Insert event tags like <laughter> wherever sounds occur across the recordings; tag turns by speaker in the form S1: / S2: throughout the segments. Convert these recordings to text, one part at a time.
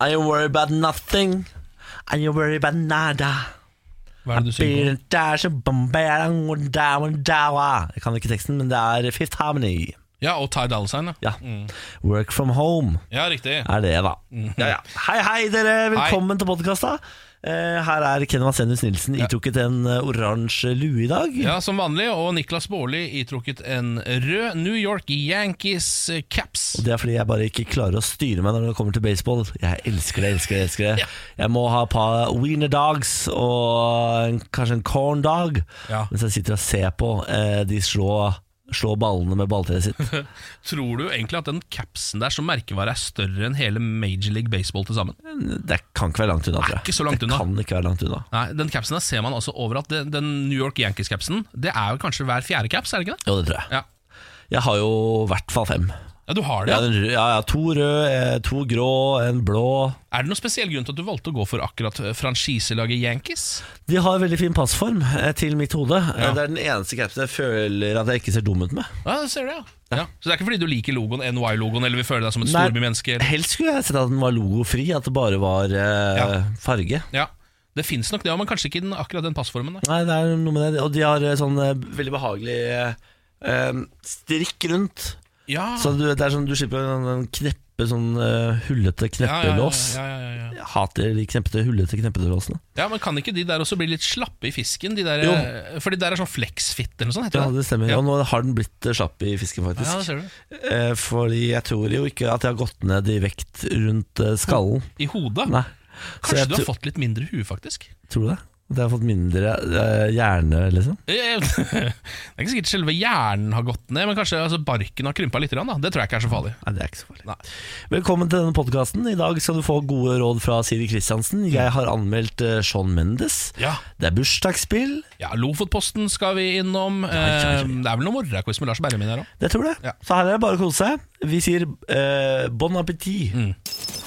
S1: I ain't worried about nothing. I ain't worried about nada.
S2: Hva er det du synger om?
S1: Jeg kan ikke teksten, men det er Fifth Harmony.
S2: Ja, og Ty Dolla Sign, ja. Mm.
S1: Ja. Work from home
S2: ja. Riktig. Mm.
S1: er det, da. Ja, ja. Hei, hei, dere. Velkommen til podkasta. Eh, Her er Ken Vasenius Nilsen itrukket en eh, oransje lue i dag.
S2: Ja, som vanlig. Og Niklas Baarli itrukket en rød New York Yankees eh, caps.
S1: Det er fordi jeg bare ikke klarer å styre meg når det kommer til baseball. Jeg elsker det, elsker det, elsker det.
S2: Ja.
S1: Jeg må ha et par wiener dogs og en, kanskje en corn dog
S2: Ja.
S1: mens jeg sitter og ser på eh, de slå, slå ballene med balltreet sitt.
S2: Tror du egentlig at den capsen der som merkevare er større enn hele Major League Baseball til sammen?
S1: Det kan ikke være langt unna, tror jeg.
S2: ikke så langt
S1: det
S2: unna.
S1: kan ikke være langt unna.
S2: Nei, Den capsen der ser man altså overalt. Den, den New York Yankees-capsen Det er jo kanskje hver fjerde caps, er det ikke det?
S1: Jo, det tror jeg.
S2: Ja,
S1: Jeg har jo i hvert fall fem.
S2: ja du har det.
S1: Ja,
S2: Ja.
S1: den, rød- ja, ja, to røde, eh, to grå, en blå.
S2: Er det noen spesiell grunn til at du valgte å gå for akkurat franchiselaget Yankees?
S1: De har veldig fin passform eh, til mitt hode.
S2: Ja.
S1: Eh, Det er den eneste capsen jeg føler at jeg ikke ser dum ut med.
S2: Ja, du ser det, ja. ja. Så det er ikke fordi du liker logoen, NY-logoen, eller vil føle deg som et
S1: Nei.
S2: storbymenneske? eller-
S1: Helst skulle jeg sett at den var logofri, at det bare var eh,
S2: Ja.
S1: farge.
S2: Ja. Det fins nok det, ja, men kanskje ikke den, akkurat den passformen. Da.
S1: Nei, det er noe med det. Og de har eh, sånn eh, veldig behagelig eh, strikk rundt.
S2: Ja.
S1: Så du, vet, det er sånn, du slipper en, en kneppe, sånn eh, hullete
S2: ja, ja, ja,
S1: kneppelås.
S2: ja, ja, ja.
S1: Jeg hater de knepete, hullete kneppetelåsene.
S2: ja, men kan ikke de der også bli litt slappe i fisken? De der,
S1: Jo.
S2: for de der er sånn flexfit eller noe sånt, heter
S1: Ja, det stemmer.
S2: Ja.
S1: Og nå har den blitt eh, slapp i fisken,
S2: Ja, det
S1: faktisk.
S2: ser du.
S1: Eh, fordi jeg tror jo ikke at jeg har gått ned i vekt rundt eh, skallen.
S2: I hodet?
S1: Nei. Så
S2: Kanskje
S1: jeg
S2: du har
S1: tro-
S2: fått litt mindre hue, faktisk? <laughs>
S1: Tror du det? At jeg har fått mindre eh, hjerne, liksom?
S2: Eh, Det er ikke sikkert selve hjernen har gått ned, men kanskje altså, barken har krympa litt. grann, Da. Det tror jeg ikke er så farlig.
S1: Nei, det er ikke så farlig.
S2: Nei.
S1: Velkommen til denne podkasten. I dag skal du få gode råd fra Siri Kristiansen. Jeg har anmeldt eh, Sean Mendes.
S2: Ja.
S1: Det er bursdagsspill.
S2: Ja, Lofotposten skal vi innom.
S1: ja, ja, ja.
S2: Eh, Det er vel noe morgenquiz med Lars Berremin her òg.
S1: Det tror jeg.
S2: Ja.
S1: Så her er det bare å kose seg. Vi sier eh, bon appétit.
S2: Mm.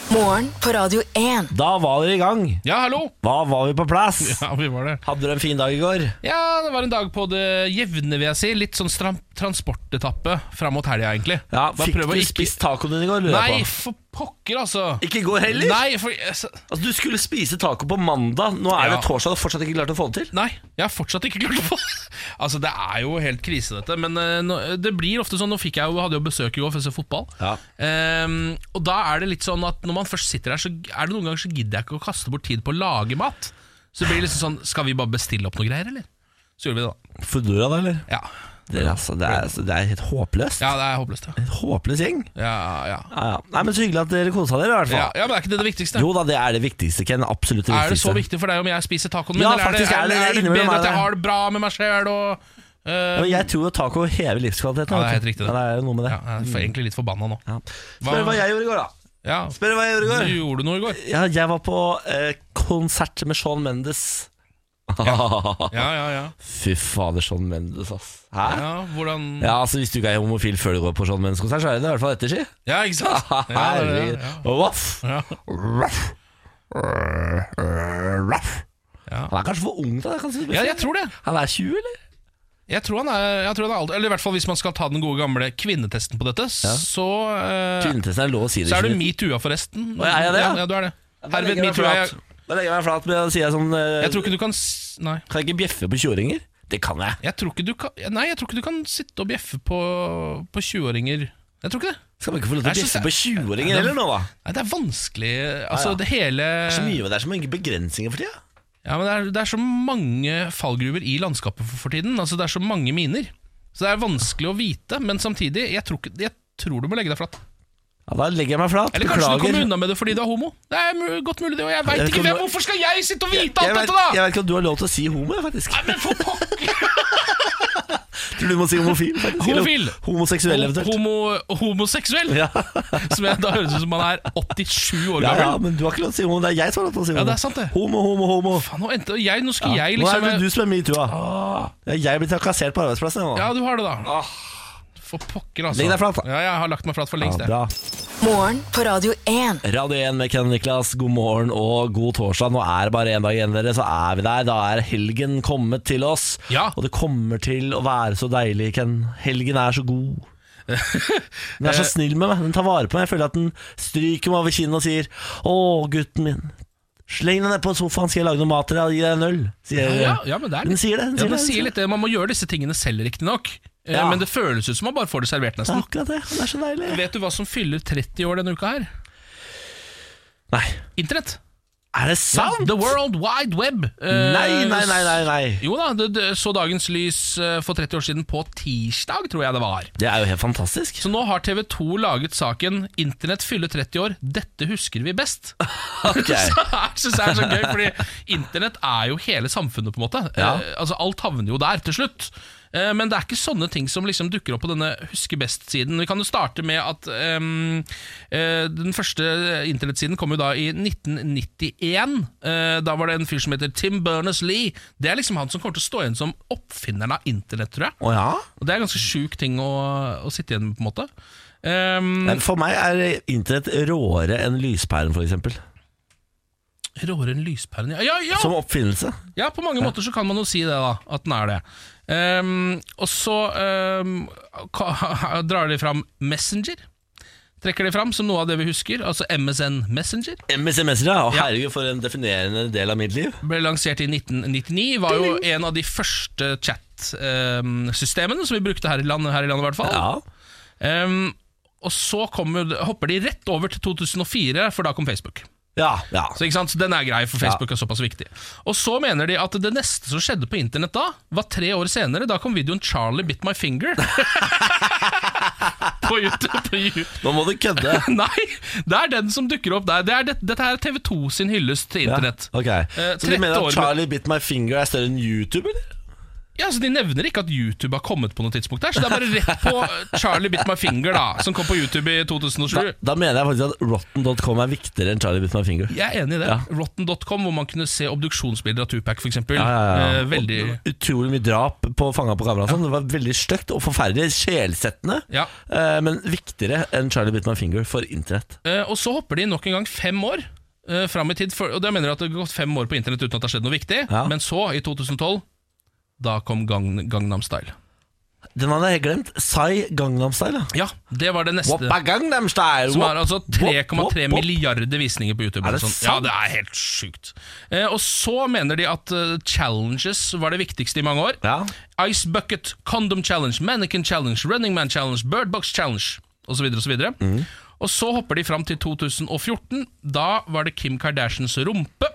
S3: Morgen på Radio 1.
S1: Da var dere i gang.
S2: Ja, hallo! <laughs>
S1: Hva var vi på plass?
S2: Ja, vi var det.
S1: Hadde dere en fin dag i går?
S2: Ja, det var en dag på det jevne, vil jeg si. Litt sånn stram transportetappe fram mot helga, egentlig.
S1: Ja,
S2: Bare
S1: Fikk
S2: prøve å
S1: du
S2: ikke-
S1: spist tacoen din i går? lurer
S2: Nei,
S1: jeg på?
S2: for pokker, altså!
S1: Ikke i går heller?
S2: Nei, for altså,
S1: Altså, du skulle spise taco på mandag. Nå er
S2: Ja.
S1: det torsdag og fortsatt ikke klart å få det til.
S2: Nei, jeg har fortsatt ikke klart å få <laughs> Altså, det er jo helt krise, dette. Men eh, nå- det blir ofte sånn. Nå fikk jeg jo, hadde jo besøk i går for å se fotball.
S1: Ja.
S2: Ehm, og da er det litt sånn at når man først sitter her, så er det noen ganger så gidder jeg ikke å kaste bort tid på å lage mat. Så det blir liksom sånn Skal vi bare bestille opp noe greier, eller? Så gjorde vi det,
S1: Foodora, da, eller?
S2: da. Ja,
S1: Det er, altså, det er, altså, det er helt håpløst.
S2: ja det er håpløst, ja.
S1: Håpløs gjeng.
S2: Ja, ja.
S1: Ja, ja. Nei, men Så hyggelig at dere kosa dere, i hvert
S2: ja.
S1: fall.
S2: ja Men det er ikke det det viktigste.
S1: Jo da, det er det viktigste, Ken. Absolutt det viktigste.
S2: er det så viktig for deg om jeg spiser tacoen min,
S1: Ja,
S2: eller
S1: faktisk er
S2: er
S1: det
S2: det,
S1: det
S2: er det,
S1: innimellom er
S2: bedre at
S1: det.
S2: jeg har det bra med meg sjæl og eh,
S1: Ja, men jeg tror jo taco hever livskvaliteten.
S2: Ja,
S1: vet
S2: det er
S1: du.
S2: helt riktig, det.
S1: Ja, det er jo noe med det.
S2: ja, Jeg er for- egentlig litt forbanna nå.
S1: Ja.
S2: Hva-
S1: Spør hva jeg gjorde i går, da.
S2: Ja,
S1: Spør hva jeg gjorde i
S2: Du
S1: går
S2: gjorde noe i går.
S1: ja, Jeg var på eh, konsert med Sean Mendes.
S2: Ja, ja, ja.
S1: <laughs> Fy fader, Sean Mendes, ass. Hæ? Ja.
S2: ja hvordan
S1: altså Hvis du ikke er homofil før du går på Sean Mendes-konsert, så er det i hvert fall <laughs> etterski.
S2: Ja, ikke sant? Ja, det er
S1: Herregud.
S2: det, ja.
S1: Voff.
S2: Ja.
S1: Ruff. Ruff.
S2: Ja.
S1: Han er kanskje for ung til det? Kanskje,
S2: ja, jeg tror det.
S1: Han er 20, eller?
S2: Jeg tror han er, jeg tror han er alt, Eller i hvert fall hvis man skal ta den gode gamle kvinnetesten på dette, så eh,
S1: Kvinnetesten er lov å si det.
S2: Så er du
S1: ikke?
S2: metoo-a, forresten.
S1: Å, er jeg det, ja?
S2: Ja, ja, du er det.
S1: Da legger jeg
S2: Herved
S1: meg
S2: metoo er jeg
S1: flat. Da legger jeg meg flat, men da sier jeg sånn eh,
S2: Jeg tror ikke du kan s- Nei.
S1: Kan jeg ikke bjeffe på 20-åringer? Det kan jeg.
S2: Jeg tror ikke du kan, nei, jeg tror ikke du kan sitte og bjeffe på, på 20-åringer. Jeg tror ikke det.
S1: Skal man ikke få lov til å
S2: Jeg
S1: bjeffe
S2: synes
S1: på
S2: jeg-
S1: 20-åringer heller nå, da?
S2: Nei, det er vanskelig Altså,
S1: ja.
S2: det hele
S1: Det er så mye, det er så mange begrensninger for tida.
S2: Ja, men det er, det er så mange fallgruver i landskapet for, for tiden. Altså, det er så mange miner. Så det er vanskelig å vite, men samtidig Jeg tror, ikke, jeg tror du må legge deg flatt.
S1: Ja, da legger jeg meg flat.
S2: Eller kanskje du kommer unna med det fordi du er homo. Det er mu- godt mulig, det. Og jeg veit
S1: Jeg
S2: ikke
S1: kommer-
S2: hvem. Hvorfor skal jeg sitte og vite
S1: Jeg
S2: alt
S1: vet,
S2: dette, da?!
S1: jeg vet ikke om du har lov til å si homo, jeg, faktisk.
S2: Nei, <laughs> men for pokker!
S1: Tror du må si homofil, faktisk. eller
S2: Homofil.
S1: Homoseksuell, eventuelt.
S2: Homo, homoseksuell!
S1: Ja.
S2: <laughs> Som jeg, da høres ut som man er 87 år
S1: Ja, ja,
S2: gammel.
S1: men du har ikke lov til å si homo. Det er jeg som har lov til å si homo.
S2: det er sant det.
S1: Homo, homo, homo.
S2: Faen, nå endte jeg Nå skal jeg
S1: Nå er
S2: liksom
S1: det du som er metoo-a. Ja, jeg blir trakassert på arbeidsplassen. jeg, nå.
S2: Ja, du har det, da. For pokker, altså.
S1: Legg deg flat, da.
S2: Ja, jeg har lagt meg flat for lengst,
S1: Ja,
S2: jeg.
S1: bra.
S3: Morgen på Radio 1.
S1: Radio 1 med Ken og Niklas, god morgen og god torsdag. Nå er det bare én dag igjen, dere, så er vi der. Da er helgen kommet til oss.
S2: Ja. <laughs>
S1: Og det kommer til å være så deilig, Ken. Helgen er så god. Den er så
S2: Eh.
S1: snill med meg. Den tar vare på meg. Jeg føler at den stryker meg over kinnet og sier 'Å, gutten min, sleng deg ned på sofaen, skal jeg lage noe mat til deg, og gi deg en øl'. Sier
S2: Ja, ja, men det er
S1: Eh,
S2: litt,
S1: Den sier det. Den
S2: ja,
S1: sier
S2: den
S1: det, den
S2: sier litt det. Man må gjøre disse tingene selv, riktignok. Ja.
S1: Ja.
S2: Men det føles ut som man bare får det servert,
S1: det er
S2: nesten.
S1: akkurat det. Det er så deilig.
S2: Vet du hva som fyller 30 år denne uka her?
S1: Nei,
S2: Internett.
S1: er det
S2: Ja,
S1: sant?
S2: The World Wide Web. Eh,
S1: Nei, nei, nei, nei, nei.
S2: Jo da, det, det så dagens lys eh, for 30 år siden på tirsdag, tror jeg det var.
S1: Det er jo helt fantastisk.
S2: <laughs> Så nå har TV 2 laget saken 'Internett fyller 30 år, dette husker vi best'.
S1: Ok.
S2: <laughs> så her synes jeg er så gøy, fordi Internett er jo hele samfunnet, på en måte.
S1: Ja.
S2: Eh, altså Alt havner jo der til slutt. Eh, men det er ikke sånne ting som liksom dukker opp på denne huske best-siden. Vi kan jo starte med at ehm, eh, den første internettsiden kom jo da i 1991. Eh, da var det en fyr som heter Tim Berners-Lee. Det er liksom han som kommer til å stå igjen som oppfinneren av internett, tror jeg.
S1: Å ja?
S2: Og Det er en ganske sjuk ting å, å sitte igjen med, på en måte. Ehm,
S1: Men For meg er internett råere enn lyspæren, f.eks.
S2: Råere enn lyspæren ja, ja, ja,
S1: Som oppfinnelse.
S2: ja, på mange måter så kan man jo si det, da. At den er det. Ehm, og så ehm, ka- <laughs> drar de fram Messenger. Trekker de fram som noe av det vi husker. Altså MSN Messenger.
S1: MSMS-er, ja. Å, Herregud, for en definerende del av mitt liv.
S2: Ble lansert i 1999. Var jo en av de første chat-systemene som vi brukte her i landet, her i landet i hvert fall.
S1: Ja.
S2: Ehm, og så kommer, hopper de rett over til 2004, for da kom Facebook.
S1: Ja, ja.
S2: Så, ikke sant? så den er grei, for Facebook er såpass viktig. Og så mener de at det neste som skjedde på internett da, var tre år senere. Da kom videoen 'Charlie bit my finger'. <laughs> på YouTube. På YouTube.
S1: Nå må du
S2: <laughs>
S1: kødde.
S2: Nei, det er den som dukker opp der. Det er det, dette her er TV2 sin hyllest til internett.
S1: Ja, ok. Så du
S2: 30
S1: mener
S2: Eh, år med-
S1: at Charlie Bit My Finger er større enn YouTube, eller?
S2: Ja, så De nevner ikke at YouTube har kommet på noe tidspunkt der, så det er bare rett på eh, 'Charlie bit my finger', da, som kom på YouTube i 2007.
S1: Da mener jeg faktisk at rotten.com er viktigere enn Charlie Bit My Finger.
S2: Jeg er enig i det. Rotten.com, hvor man kunne se obduksjonsbilder av Tupac, f.eks. eksempel Eh, veldig
S1: Og Utrolig mye drap på fanga på kamera. og Sånn. Det var veldig stygt og forferdelig. Sjelsettende.
S2: Ja.
S1: Eh, men viktigere enn Charlie Bit My Finger for internett.
S2: Eh, og så hopper de nok en gang fem år uh, fram i tid. For, og det mener jeg at det har gått fem år på internett uten at det har skjedd noe viktig.
S1: Ja.
S2: Men så, i 2012, da kom Gang, Gangnam Style.
S1: Den hadde jeg helt glemt. Psy Gangnam Style. ja.
S2: Ja, det var det neste.
S1: Woppa Gangnam Style!
S2: Som
S1: wop,
S2: er altså
S1: wop,
S2: 3,3
S1: wop, wop.
S2: milliarder visninger på YouTube.
S1: Er det
S2: og sånn.
S1: sant?
S2: Ja, det er helt sjukt. Eh, og så mener de at eh, challenges var det viktigste i mange år.
S1: Ja.
S2: Ice Bucket, Condom Challenge, Mannequin Challenge, Running Man Challenge, Bird Box Challenge osv. Og, så videre.
S1: Mm.
S2: og så hopper de fram til 2014. Da var det Kim Kardashians rumpe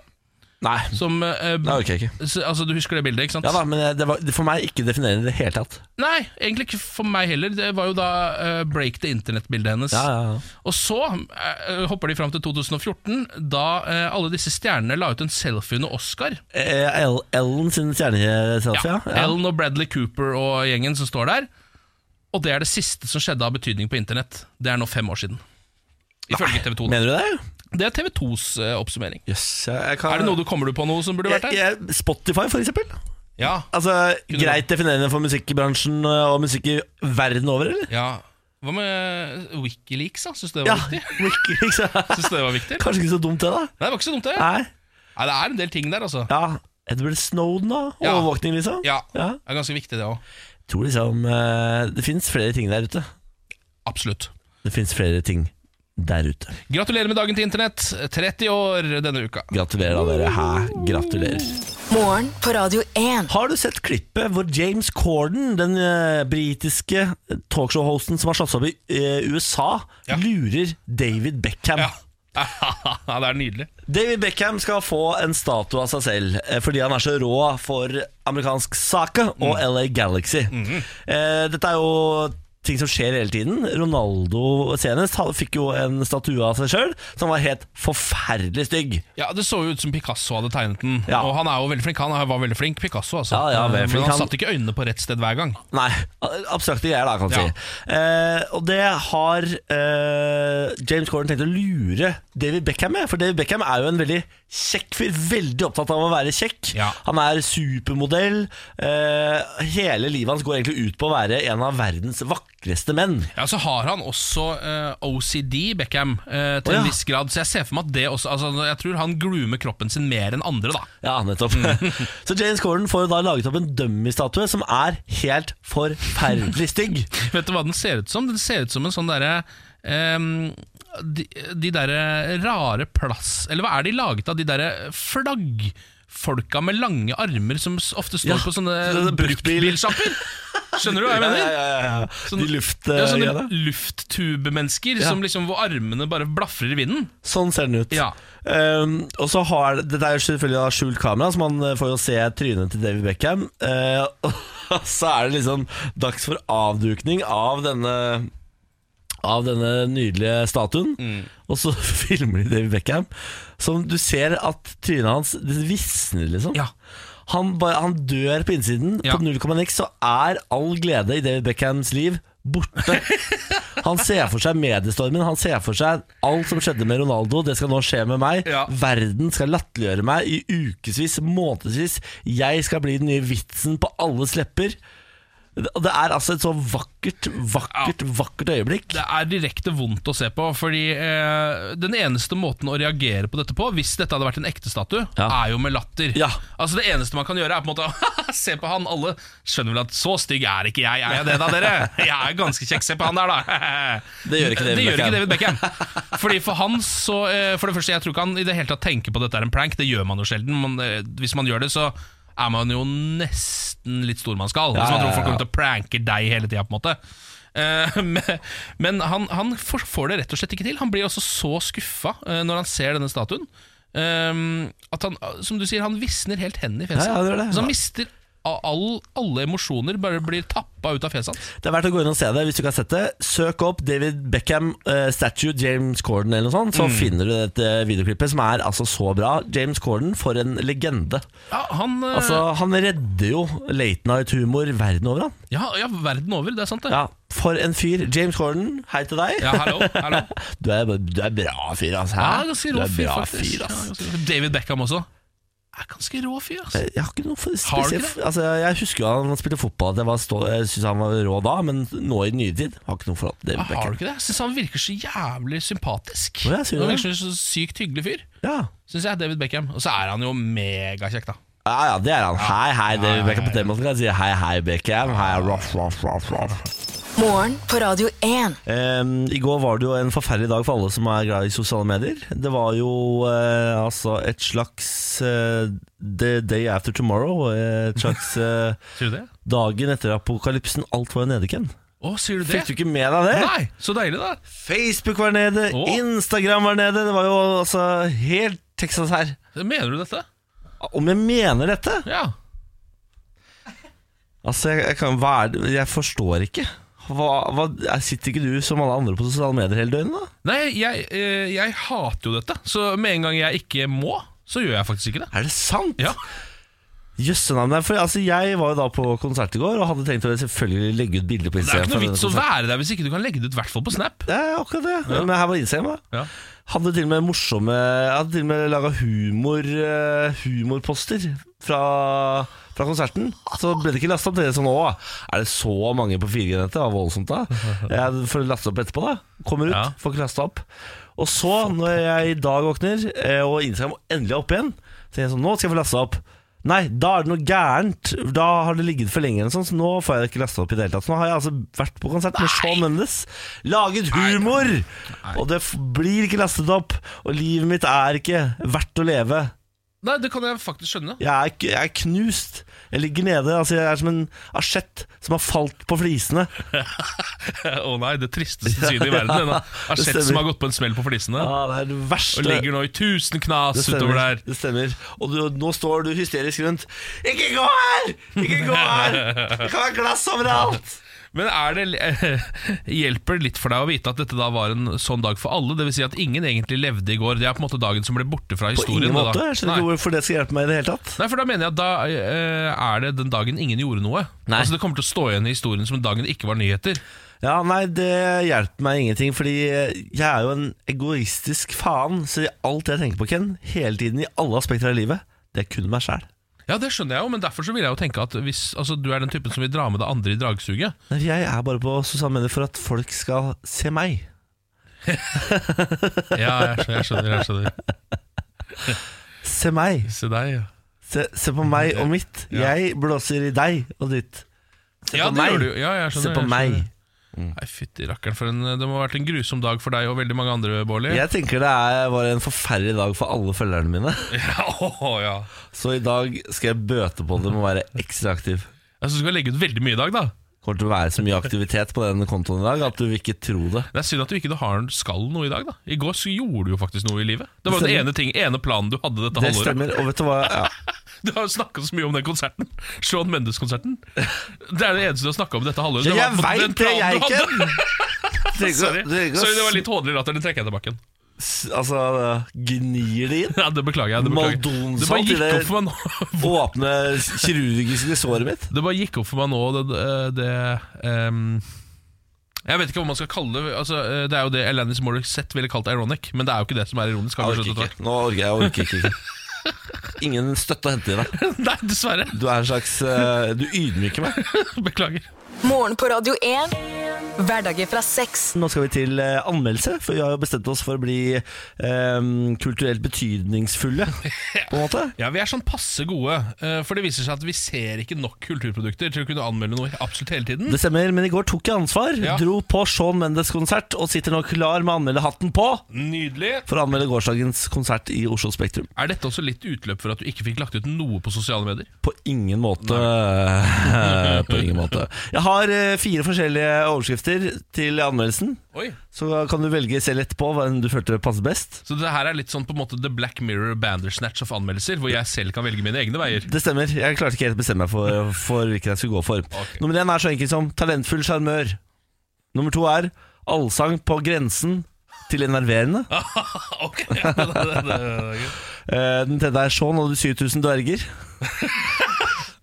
S1: Nei,
S2: som eh,
S1: det orker jeg ikke.
S2: s- Altså, Du husker det bildet, ikke sant?
S1: Ah, Ja da, men jeg- det var for meg ikke definerende i det hele tatt.
S2: Nei, egentlig ikke for meg heller. Det var jo da eh, Break the Internet-bildet hennes.
S1: Ja, ja, ja.
S2: Og så eh, hopper de fram til 2014, da eh, alle disse stjernene la ut en selfie under Oscar.
S1: Eh, El- Ellen sin stjerneselfie? Ja. Ja.
S2: Ellen og Bradley Cooper og gjengen som står der. Og det er det siste som skjedde av betydning på internett. Det er nå fem år siden. Ifølge TV 2.
S1: Mener du det?
S2: Det er TV 2s eh, oppsummering.
S1: Yes, jeg, jeg kan...
S2: Er det noe du kommer du på noe som burde vært
S1: jeg,
S2: der?
S1: jeg, Spotify, for eksempel?
S2: Ja.
S1: Altså,
S2: Kunne
S1: Greit definerende for musikkbransjen og musikk i verden over, eller?
S2: ja. Hva med eh, Wikileaks, da? Syns du det
S1: Ja,
S2: var viktig?
S1: virkelig, så-
S2: Syns du det var viktig?
S1: Kanskje ikke så dumt det, da.
S2: Nei, det var ikke så dumt, det.
S1: Nei.
S2: Nei, det er en del ting der, altså.
S1: Ja, Edward Snowden, da.
S2: Ja.
S1: Overvåkning, liksom.
S2: Ja,
S1: Ja.
S2: det er ganske viktig, det òg.
S1: Tror liksom eh, Det fins flere ting der ute.
S2: Absolutt.
S1: Det fins flere ting der ute.
S2: Gratulerer med dagen til internett. 30 år denne uka.
S1: Gratulerer, da, dere. Hæ? Gratulerer.
S3: Morgen på Radio 1.
S1: Har du sett klippet hvor James Corden, den eh, britiske eh, talkshow-hosten som har slått seg opp i eh, USA,
S2: Ja.
S1: lurer David Beckham?
S2: Ja. <laughs> det er nydelig.
S1: David Beckham skal få en statue av seg selv eh, fordi han er så rå for amerikansk sake og
S2: Mm.
S1: LA Galaxy.
S2: Mhm.
S1: Eh, Dette er jo ting som skjer hele tiden. Ronaldo senest han fikk jo en statue av seg sjøl som var helt forferdelig stygg.
S2: Ja, Det så jo ut som Picasso hadde tegnet den.
S1: Ja.
S2: Og han er jo veldig flink. Han var veldig flink, Picasso. altså
S1: Ja, ja, veldig flink.
S2: Men han
S1: Han-
S2: satte ikke øynene på rett sted hver gang.
S1: Nei, <laughs> abstrakte greier, da, kan du
S2: Ja.
S1: si. Eh, og det har eh, James Corden tenkt å lure David Beckham med. For David Beckham er jo en veldig kjekk fyr. Veldig opptatt av å være kjekk.
S2: Ja.
S1: Han er supermodell. Eh, hele livet hans går egentlig ut på å være en av verdens vakreste vakreste menn.
S2: Ja, så har han også eh, OCD, Beckham, eh,
S1: Å,
S2: til
S1: ja.
S2: en viss grad. Så jeg ser for meg at det også altså, Jeg tror han groomer kroppen sin mer enn andre, da. <laughs>
S1: Ja, nettopp.
S2: Mm.
S1: <laughs> så James Corden får da laget opp en dummy-statue som er helt forferdelig
S2: <laughs>
S1: stygg.
S2: Vet du hva den ser ut som? Den ser ut som en sånn derre ehm, De, de derre rare plass... Eller hva er de laget av? De derre flaggfolka med lange armer som s- ofte står
S1: Ja,
S2: på
S1: sånne
S2: sånne
S1: bruktbil.
S2: bruktbilsjapper. Skjønner du hva jeg mener? Sånn-
S1: ja, Eh, ja. De
S2: ja,
S1: luftgreiene.
S2: sånne lufttubemennesker
S1: Ja.
S2: som liksom, hvor armene bare blafrer i vinden.
S1: Sånn ser den ut.
S2: Ja.
S1: Ehm, og så har det er jo selvfølgelig da skjult kamera, så man eh, får jo se trynet til David Beckham. Eh, <laughs> og så er det liksom dags for avdukning av denne Av denne nydelige statuen.
S2: Mm.
S1: Og så <laughs> filmer de David Beckham, som du ser at trynet hans det visner, liksom.
S2: Ja.
S1: Han, bare, han dør på innsiden.
S2: Ja.
S1: På 0,9 så er all glede i David Beckhams liv
S2: <laughs>
S1: borte. Han ser for seg mediestormen, han ser for seg alt som skjedde med Ronaldo. Det skal nå skje med meg.
S2: Ja.
S1: Verden skal latterliggjøre meg i ukevis, månedsvis. Jeg skal bli den nye vitsen på alles lepper. Og det er altså et så vakkert, vakkert, vakkert øyeblikk.
S2: Det er direkte vondt å se på, fordi eh, den eneste måten å reagere på dette på, hvis dette hadde vært en ekte statue,
S1: Ja.
S2: er jo med latter.
S1: Ja.
S2: Altså Det eneste man kan gjøre, er på en måte å <laughs> se på han. Alle skjønner vel at så stygg er ikke jeg, er jeg det da, dere? Jeg er ganske kjekk, se på han der, da.
S1: Det gjør ikke David
S2: <laughs> det gjør
S1: Beckham.
S2: ikke David Beckham. Fordi For han så eh, For det første, jeg tror ikke han i det hele tatt tenker på at dette er en prank, det gjør man jo sjelden. Man, eh, hvis man gjør det, så er man jo nesten litt stormannsgal.
S1: Ja,
S2: Hvis man
S1: ja,
S2: tror folk
S1: ja.
S2: kommer til å pranke deg hele tida, på en måte. Eh, <laughs> men- Men han, han for- får det rett og slett ikke til. Han blir også så skuffa eh, når han ser denne statuen. eh, At han, som du sier, han visner helt hendene i fjeset.
S1: Ja, ja, det gjør det.
S2: Så han mister a- all, alle emosjoner, bare blir tappa ut av fjeset hans.
S1: Det er verdt å gå inn og se det hvis du ikke har sett det. Søk opp David Beckham eh, statue, James Corden eller noe sånt,
S2: Mm.
S1: så finner du dette videoklippet som er altså så bra. James Corden, for en legende.
S2: Ja, han, eh,
S1: Altså, han redder jo late night-humor verden over, han.
S2: ja, ja, verden over, det er sant, det.
S1: Ja, for en fyr. James Corden, hei til deg.
S2: Ja, hallo, hallo.
S1: <laughs> Du, er, du er bra fyr, altså. Hæ?
S2: Ja, ganske
S1: du er
S2: rå fyr,
S1: bra
S2: faktisk.
S1: fyr, ass.
S2: Ja, ganske rå. David Beckham også. Er ganske rå fyr, ass.
S1: Jeg har ikke noe for
S2: Har du ikke
S1: spesielt altså, Jeg husker jo han spilte fotball, at jeg, var stå, jeg synes han var rå da, men nå i nyere tid har ikke noe forhold til David
S2: Ja, Ah, Har du
S1: Beckham.
S2: ikke det? Jeg syns han virker så jævlig sympatisk.
S1: Å, jeg sier
S2: han
S1: det.
S2: virker som en så sykt hyggelig fyr,
S1: Ja.
S2: syns jeg. David Beckham. Og så er han jo megakjekk, da.
S1: ja, ja, det er han. Hei, hei, David Beckham. På den måten kan jeg si hei, hei, Beckham. Hei, ruff, ruff, ruff, ruff.
S3: Morgen på Radio 1.
S1: Ehm, I går var det jo en forferdelig dag for alle som er glad i sosiale medier. Det var jo eh, altså et slags eh, The Day After Tomorrow. eh, Et
S2: <laughs>
S1: slags eh,
S2: Sier du det?
S1: dagen etter apokalypsen. Alt var jo nede, Ken.
S2: Å, sier du det?
S1: Fikk du ikke med deg det?
S2: Nei, så deilig, da.
S1: Facebook var nede,
S2: Å.
S1: Instagram var nede. Det var jo altså helt Texas her.
S2: Mener du dette?
S1: Om jeg mener dette?
S2: Ja.
S1: Altså, jeg, jeg, kan, hva er det? jeg forstår ikke. Hva, hva, sitter ikke du som alle andre på sosiale medier hele døgnet, da?
S2: Nei, jeg, eh, jeg hater jo dette, så med en gang jeg ikke må, så gjør jeg faktisk ikke det.
S1: Er det sant?
S2: Ja.
S1: Jøssenavn for altså, Jeg var jo da på konsert i går og hadde tenkt å selvfølgelig legge ut bilder på
S2: Det er
S1: Instagram.
S2: ikke
S1: fra
S2: noe vits å
S1: denne konserten.
S2: være der hvis ikke du kan legge det ut, i hvert fall på Snap.
S1: Det er akkurat det. Men her var Instagram, da.
S2: Ja.
S1: Hadde til og med morsomme Jeg hadde til og med laga humor, eh, humorposter fra, fra konserten. Så ble det ikke lasta opp. Det er sånn Å, er det så mange på 4G-nettet? Det var voldsomt,
S2: <laughs>
S1: da. Jeg får laste opp etterpå, da. Kommer ut,
S2: Ja.
S1: får ikke lasta opp. Og så, når jeg i dag våkner, eh, og Instagram endelig er oppe igjen, så tenker jeg sånn Nå skal jeg få lasta opp. Nei, da er det noe gærent. Da har det ligget for lenge, eller sånn, så nå får jeg det ikke lasta opp i det hele tatt. Så nå har jeg altså vært på konsert med Shawn Mendes, laget humor, og det f- blir ikke lastet opp. Og livet mitt er ikke verdt å leve.
S2: Nei, det kan jeg faktisk skjønne.
S1: Jeg er, k- jeg er knust. Jeg ligger nede. Altså, jeg er som en asjett som har falt på flisene.
S2: <laughs> Å nei, det tristeste synet i
S1: <laughs>
S2: verden. En asjett
S1: stemmer.
S2: som har gått på en smell på flisene.
S1: Ja, det er det verste.
S2: Og ligger nå i tusen knas utover
S1: stemmer.
S2: der.
S1: det stemmer. Og du, nå står du hysterisk rundt. Ikke gå her! Ikke gå her! Det kan være glass overalt!
S2: Men er det, <laughs> hjelper det litt for deg å vite at dette da var en sånn dag for alle? Dvs. Si at ingen egentlig levde i går. Det er på en måte dagen som ble borte fra
S1: På
S2: historien.
S1: ingen
S2: det
S1: måte.
S2: da.
S1: Jeg skjønner ikke
S2: Nei.
S1: hvorfor det skal hjelpe meg i det hele tatt.
S2: Nei, for da mener jeg at da eh, er det den dagen ingen gjorde noe.
S1: Nei.
S2: Altså Det kommer til å stå igjen i historien som dagen det ikke var nyheter.
S1: Ja, nei, det hjelper meg ingenting, fordi jeg er jo en egoistisk faen. Så alt jeg tenker på, Ken, hele tiden i alle aspekter av livet, det er kun meg sjæl.
S2: Ja, Ja, det skjønner jeg jo, men derfor så vil jeg jo tenke at hvis altså, du er den typen som vil dra med det andre i dragsuget
S1: Nei, Jeg er bare på Susanne Mener for at folk skal se meg.
S2: Ja, jeg skjønner, jeg skjønner. Jeg skjønner.
S1: Se meg.
S2: Se deg, ja.
S1: Se, se på meg og mitt.
S2: Ja.
S1: Jeg blåser i deg og ditt. Se
S2: ja,
S1: på
S2: det
S1: meg.
S2: gjør du. Ja, jeg skjønner,
S1: se på
S2: jeg
S1: meg.
S2: skjønner. Mm. Nei, fytti rakkeren, for en, det må ha vært en grusom dag for deg og veldig mange andre, Bårli.
S1: Jeg tenker det er, var en forferdelig dag for alle følgerne mine. <laughs>
S2: <laughs> Ja, åh, ja.
S1: Så i dag skal jeg bøte på det med å være ekstra aktiv.
S2: Jeg synes du skal legge ut veldig mye i dag, da.
S1: kommer til å være så mye aktivitet på den kontoen i dag at du vil ikke tro det.
S2: Det er synd at du ikke har, skal noe i dag, da. I går så gjorde du jo faktisk noe i livet. Det var jo
S1: Det
S2: den ene, ting, ene planen du hadde dette
S1: Det
S2: halvåret.
S1: stemmer. Og vet du hva? Ja.
S2: <laughs> Du har jo snakka så mye om den konserten. Sean Mendes-konserten. Det er det eneste du har snakka om dette halvåret.
S1: Jeg,
S2: var på den
S1: veit det,
S2: planen
S1: jeg
S2: du hadde.
S1: ikke! <laughs> Tenk å-
S2: Sorry.
S1: tenk å
S2: Sorry, det var litt hånlig latter. Den trekker jeg tilbake. igjen.
S1: s- Altså, gnir det inn?
S2: Ja, det beklager jeg. Det, beklager. jeg. det
S1: Maldonsalt
S2: bare
S1: i
S2: gikk
S1: det-
S2: opp for meg nå.
S1: Åpne kirurgiske såret mitt?
S2: Det bare gikk opp for meg nå, det, det ehm, Jeg vet ikke hva man skal kalle det. Altså, eh, det er jo det Alanis Morissette ville kalt ironic, men det er jo ikke det som er ironisk. Har vi
S1: Jeg orker
S2: skjønt etter hvert.
S1: ikke. Nå orker jeg orker ikke.
S2: <laughs>
S1: ikke. Ingen støtte å hente i deg.
S2: Nei, dessverre.
S1: Du er en slags eh, Du ydmyker meg.
S2: Beklager.
S3: Morgen på Radio 1. Hverdager fra seks.
S1: Nå skal vi til eh, anmeldelse, for vi har jo bestemt oss for å bli eh, kulturelt <laughs> betydningsfulle, på en måte.
S2: Ja, Vi er sånn passe gode, eh, for det viser seg at vi ser ikke nok kulturprodukter til å kunne anmelde noe absolutt hele tiden.
S1: Det stemmer, men i går tok jeg ansvar.
S2: Ja.
S1: Dro på Sean Mendes konsert og sitter nå klar med anmeldehatten på
S2: Nydelig.
S1: for å anmelde gårsdagens konsert i Oslo Spektrum.
S2: Er dette også litt utløp for at du ikke fikk lagt ut noe på sosiale medier?
S1: På ingen måte. <laughs> på ingen måte. Jeg har eh, fire forskjellige overskrifter til anmeldelsen.
S2: Oi
S1: Så kan du velge selv etterpå hva enn du følte passet best.
S2: Så det her er litt sånn på en måte The Black Mirror Bandersnatch of anmeldelser, hvor jeg selv kan velge mine egne veier.
S1: Det stemmer. Jeg klarte ikke helt å bestemme meg for, for hvilken jeg skulle gå for.
S2: Ok.
S1: Nummer én er så enkel som talentfull sjarmør. Nummer to er allsang på grensen til enerverende.
S2: ok, ja, det, det, det, det, det.
S1: Eh, Den tredje er Sean og de 7000 dverger.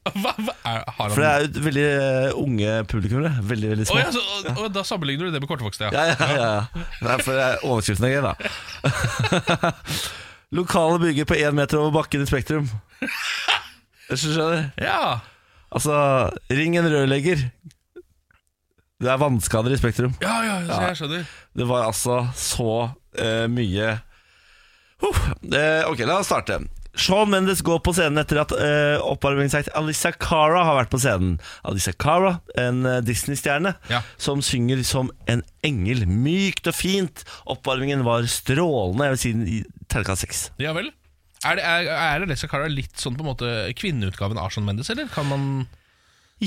S2: Hva, hva er, har han
S1: For det er jo et veldig eh, unge publikum, det. Veldig, veldig
S2: Å,
S1: små.
S2: ja, så, og, og da sammenligner du det med kortvokste, ja.
S1: Ja, ja, ja, ja. Derfor er overskriften er gøy, da. <laughs> Lokale bygger på én meter over bakken i Spektrum. Hvis du skjønner?
S2: ja.
S1: Altså, ring en rørlegger. Det er vannskader i Spektrum.
S2: Ja, ja, så jeg skjønner.
S1: Det var altså så eh, mye Huff. Eh, Ok, la oss starte. Shawn Mendes går på scenen etter at uh, oppvarmingsakt Alisa Cara har vært på scenen. Alisa Cara, en eh, Disney-stjerne,
S2: Ja.
S1: som synger som en engel. Mykt og fint. Oppvarmingen var strålende. Jeg vil si den i terningkast seks.
S2: Ja vel. Er, det, er, er Alessia Cara litt sånn på en måte kvinneutgaven av Sean Mendes, eller? Kan man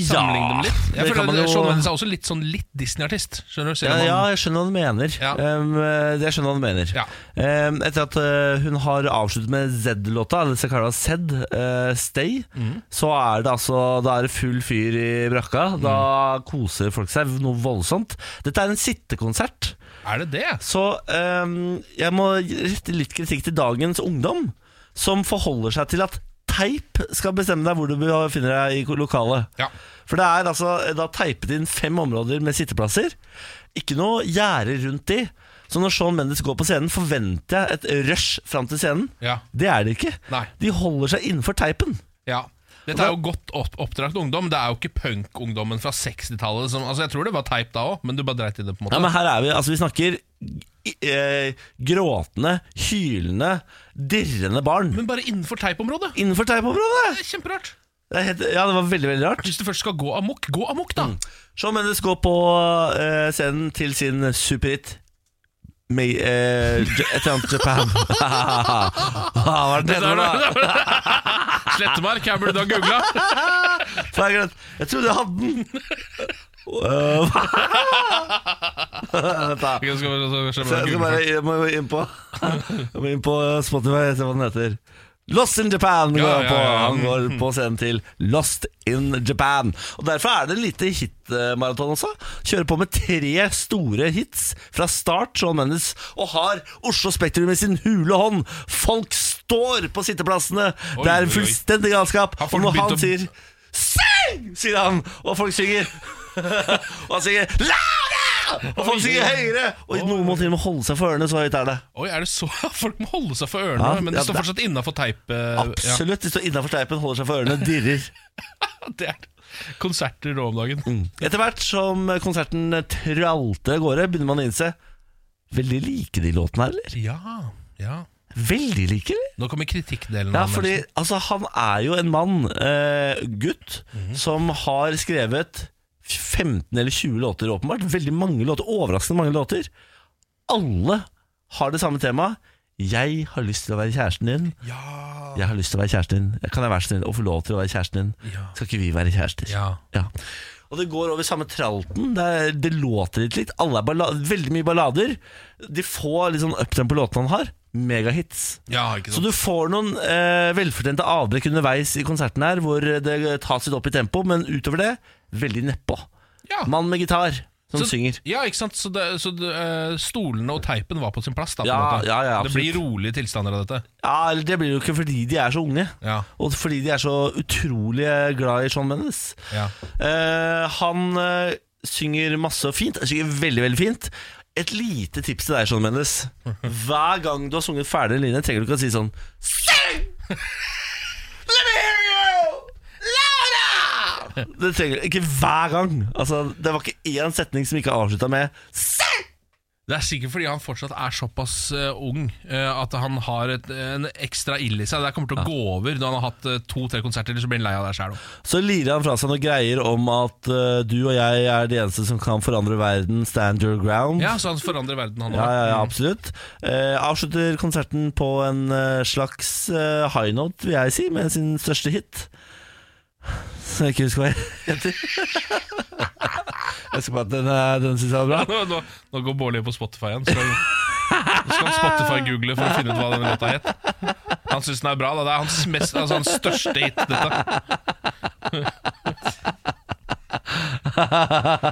S2: sammenligne dem litt?
S1: det
S2: Jeg
S1: kan
S2: føler
S1: man
S2: at
S1: jo-
S2: Sean Mendes er også litt sånn litt Disney-artist. Skjønner du? Selv
S1: Ja,
S2: om han-
S1: ja, jeg skjønner hva du mener.
S2: Ja.
S1: Um, eh, jeg skjønner hva du mener.
S2: Ja.
S1: Um, etter at eh, hun har avsluttet med Z-låta, eller Sakara Z, eh, Stay,
S2: Mhm.
S1: så er det altså Da er det full fyr i brakka. Da
S2: Mhm.
S1: koser folk seg noe voldsomt. Dette er en sittekonsert,
S2: Er det det?
S1: så um, jeg må rette litt kritikk til dagens ungdom, som forholder seg til at teip skal bestemme deg hvor du befinner deg i lokalet.
S2: Ja.
S1: For det er altså da teipet inn fem områder med sitteplasser. Ikke noe gjerde rundt de. Så når Shawn Mendes går på scenen, forventer jeg et rush fram til scenen.
S2: Ja.
S1: Det er det ikke.
S2: Nei.
S1: De holder seg innenfor teipen.
S2: Ja dette er jo godt opp oppdratt ungdom. Det er jo ikke punk-ungdommen fra 60-tallet. som- Altså, jeg tror det var teip da òg, men du bare dreit i det. på en måte
S1: Ja, men her er vi, altså vi snakker i- eh, gråtende, hylende, dirrende barn.
S2: Men bare innenfor teipområdet.
S1: Innenfor teipområdet!
S2: Det er Kjemperart.
S1: Det er helt- Ja, det var veldig, veldig rart.
S2: Hvis du først skal gå amok, gå amok, da.
S1: Mm. Shawn Mendes går på eh, scenen til sin superhit May, eh, J- et eller annet <laughs> Japan. Ah, Hva var det
S2: Der,
S1: det var?
S2: der, der. Slettemark, her burde du ha googla.
S1: <laughs> For jeg, glemte- jeg trodde jeg hadde <laughs> den Øh, Vent da.
S2: Jeg skal, bare- så- så-
S1: Så jeg skal bare jeg må inn på Jeg må inn på Spotify og se hva den heter Lost in Japan går
S2: Ja,
S1: han på
S2: ja, ja.
S1: Han går på scenen til Lost in Japan Og derfor er det en lite hitmaraton også Kjører på med tre store hits Fra start, Shawn Mendes Og har Oslo Spektrum i sin hule hånd Folk står på sitteplassene
S2: Oi,
S1: Det er en
S2: oi, oi.
S1: fullstendig galskap
S2: Har
S1: Og
S2: folk
S1: når
S2: begynt
S1: han
S2: å-
S1: sier <laughs> Syng, sier han Og folk synger Og han synger Lade Og folk synger høyere! Og noen må til og med holde seg for ørene, så høyt er det.
S2: Oi, er det så <laughs> Folk må holde seg for ørene,
S1: Ja,
S2: men
S1: ja,
S2: det står
S1: det-
S2: fortsatt innafor teip. eh, Ja,
S1: Absolutt. De står innafor teipen, holder seg for ørene, dirrer.
S2: <laughs> det er konserter nå om dagen.
S1: Etter hvert som konserten tralte av gårde, begynner man å innse Veldig like de låtene her, eller?
S2: Ja, ja.
S1: Veldig like, eller?
S2: Nå kommer kritikkdelen.
S1: Ja,
S2: av
S1: fordi
S2: anmeldelsen.
S1: altså, han er jo en mann, eh, gutt, som har skrevet 15 eller 20 låter, åpenbart. Veldig mange låter, overraskende mange låter. Alle har det samme temaet. Jeg har lyst til å være kjæresten din.
S2: ja.
S1: Jeg har lyst til å være kjæresten din. Kan jeg være så snill og få lov til å være kjæresten din?
S2: Ja.
S1: Skal ikke vi være kjærester?
S2: Ja.
S1: Ja. Og det går over samme tralten. Det, er, det låter litt likt. Alle er balla veldig mye ballader. De få litt sånn uptemp på låtene han har. Megahits.
S2: ja, ikke
S1: Så
S2: sant.
S1: du får noen eh, velfortjente avbrekk underveis i konserten her, hvor det tas litt opp i tempo, men utover det, veldig nedpå.
S2: Ja.
S1: Mann med gitar som
S2: Så-
S1: synger.
S2: Ja, ikke sant? Så, det, så det, eh, stolene og teipen var på sin plass. Da, på en
S1: Ja,
S2: måte.
S1: ja, ja,
S2: det
S1: absolutt.
S2: blir rolige tilstander av dette.
S1: Ja, eller Det blir jo ikke fordi de er så unge,
S2: Ja,
S1: og fordi de er så utrolig glad i Sean Mendes.
S2: ja.
S1: Eh, han eh, synger masse og fint. Han synger veldig, veldig fint. Et lite tips til deg, Sean Mendes. Hver gang du har sunget ferdig en linje, trenger du ikke å si sånn Sing! Let me hear you! Louder! Det trenger du ikke hver gang. Altså, det var ikke én setning som ikke avslutta med Sing!
S2: Det er sikkert fordi han fortsatt er såpass eh, ung eh, at han har et, en ekstra ild i seg. Det kommer til å gå over når han har hatt eh, to-tre konserter, så blir han lei av det sjæl.
S1: Så lirer han fra seg noen greier om at eh, du og jeg er de eneste som kan forandre verden. Stand your ground.
S2: Ja, så han forandrer verden, han
S1: Ja,
S2: òg.
S1: ja, ja, absolutt. Eh, avslutter konserten på en eh, slags eh, high note, vil jeg si, med sin største hit. Som jeg ikke husker hva jeg heter. jeg husker bare at den, eh, den syns jeg var bra.
S2: <laughs> Nå, nå, nå går Bård Lie på Spotify igjen. Skal, nå skal Spotify-google for å finne ut hva denne låta het. Han syns den er bra. da Det er hans, mest, altså, hans største hit, dette.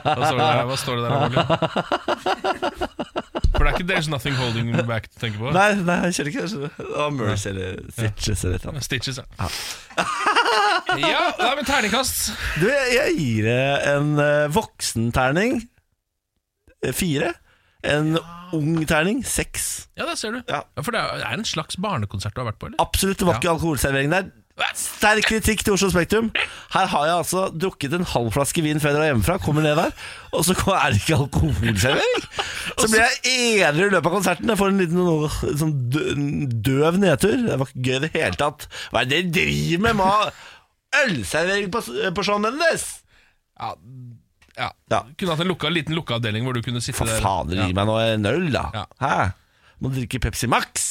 S2: Hva står det der, hva står det der Bård Lie? For det er ikke 'There's Nothing Holding Me Back' du tenker på?
S1: Nei, nei, jeg kjører ikke det. skjønner du. Det var Mercy eller Stitches eller et eller annet.
S2: Stitches, ja. <laughs> Ja, nei, men terningkast.
S1: Du, jeg, jeg gir det en eh, voksenterning eh, fire. En ung terning seks.
S2: Ja, der ser du.
S1: Ja.
S2: Ja, for det er det er en slags barnekonsert du har vært på, eller?
S1: Absolutt, det var ikke alkoholservering der. Sterk kritikk til Oslo Spektrum. Her har jeg altså drukket en halv flaske vin før jeg drar hjemmefra, kommer ned der, og så er det ikke alkoholservering. Så blir jeg edru i løpet av konserten. Jeg får en liten noe, sånn dø- døv nedtur. Det var ikke gøy i det hele tatt. Hva er det dere driver med? Ma? Ølservering på, på Sean Mendes!
S2: Ja, ja.
S1: Ja.
S2: Kunne hatt en lukka, liten lukka avdeling hvor du kunne sitte
S1: For
S2: der.
S1: fader,
S2: ja.
S1: gi meg nå en øl, da.
S2: Ja.
S1: Hæ? Må drikke Pepsi Max.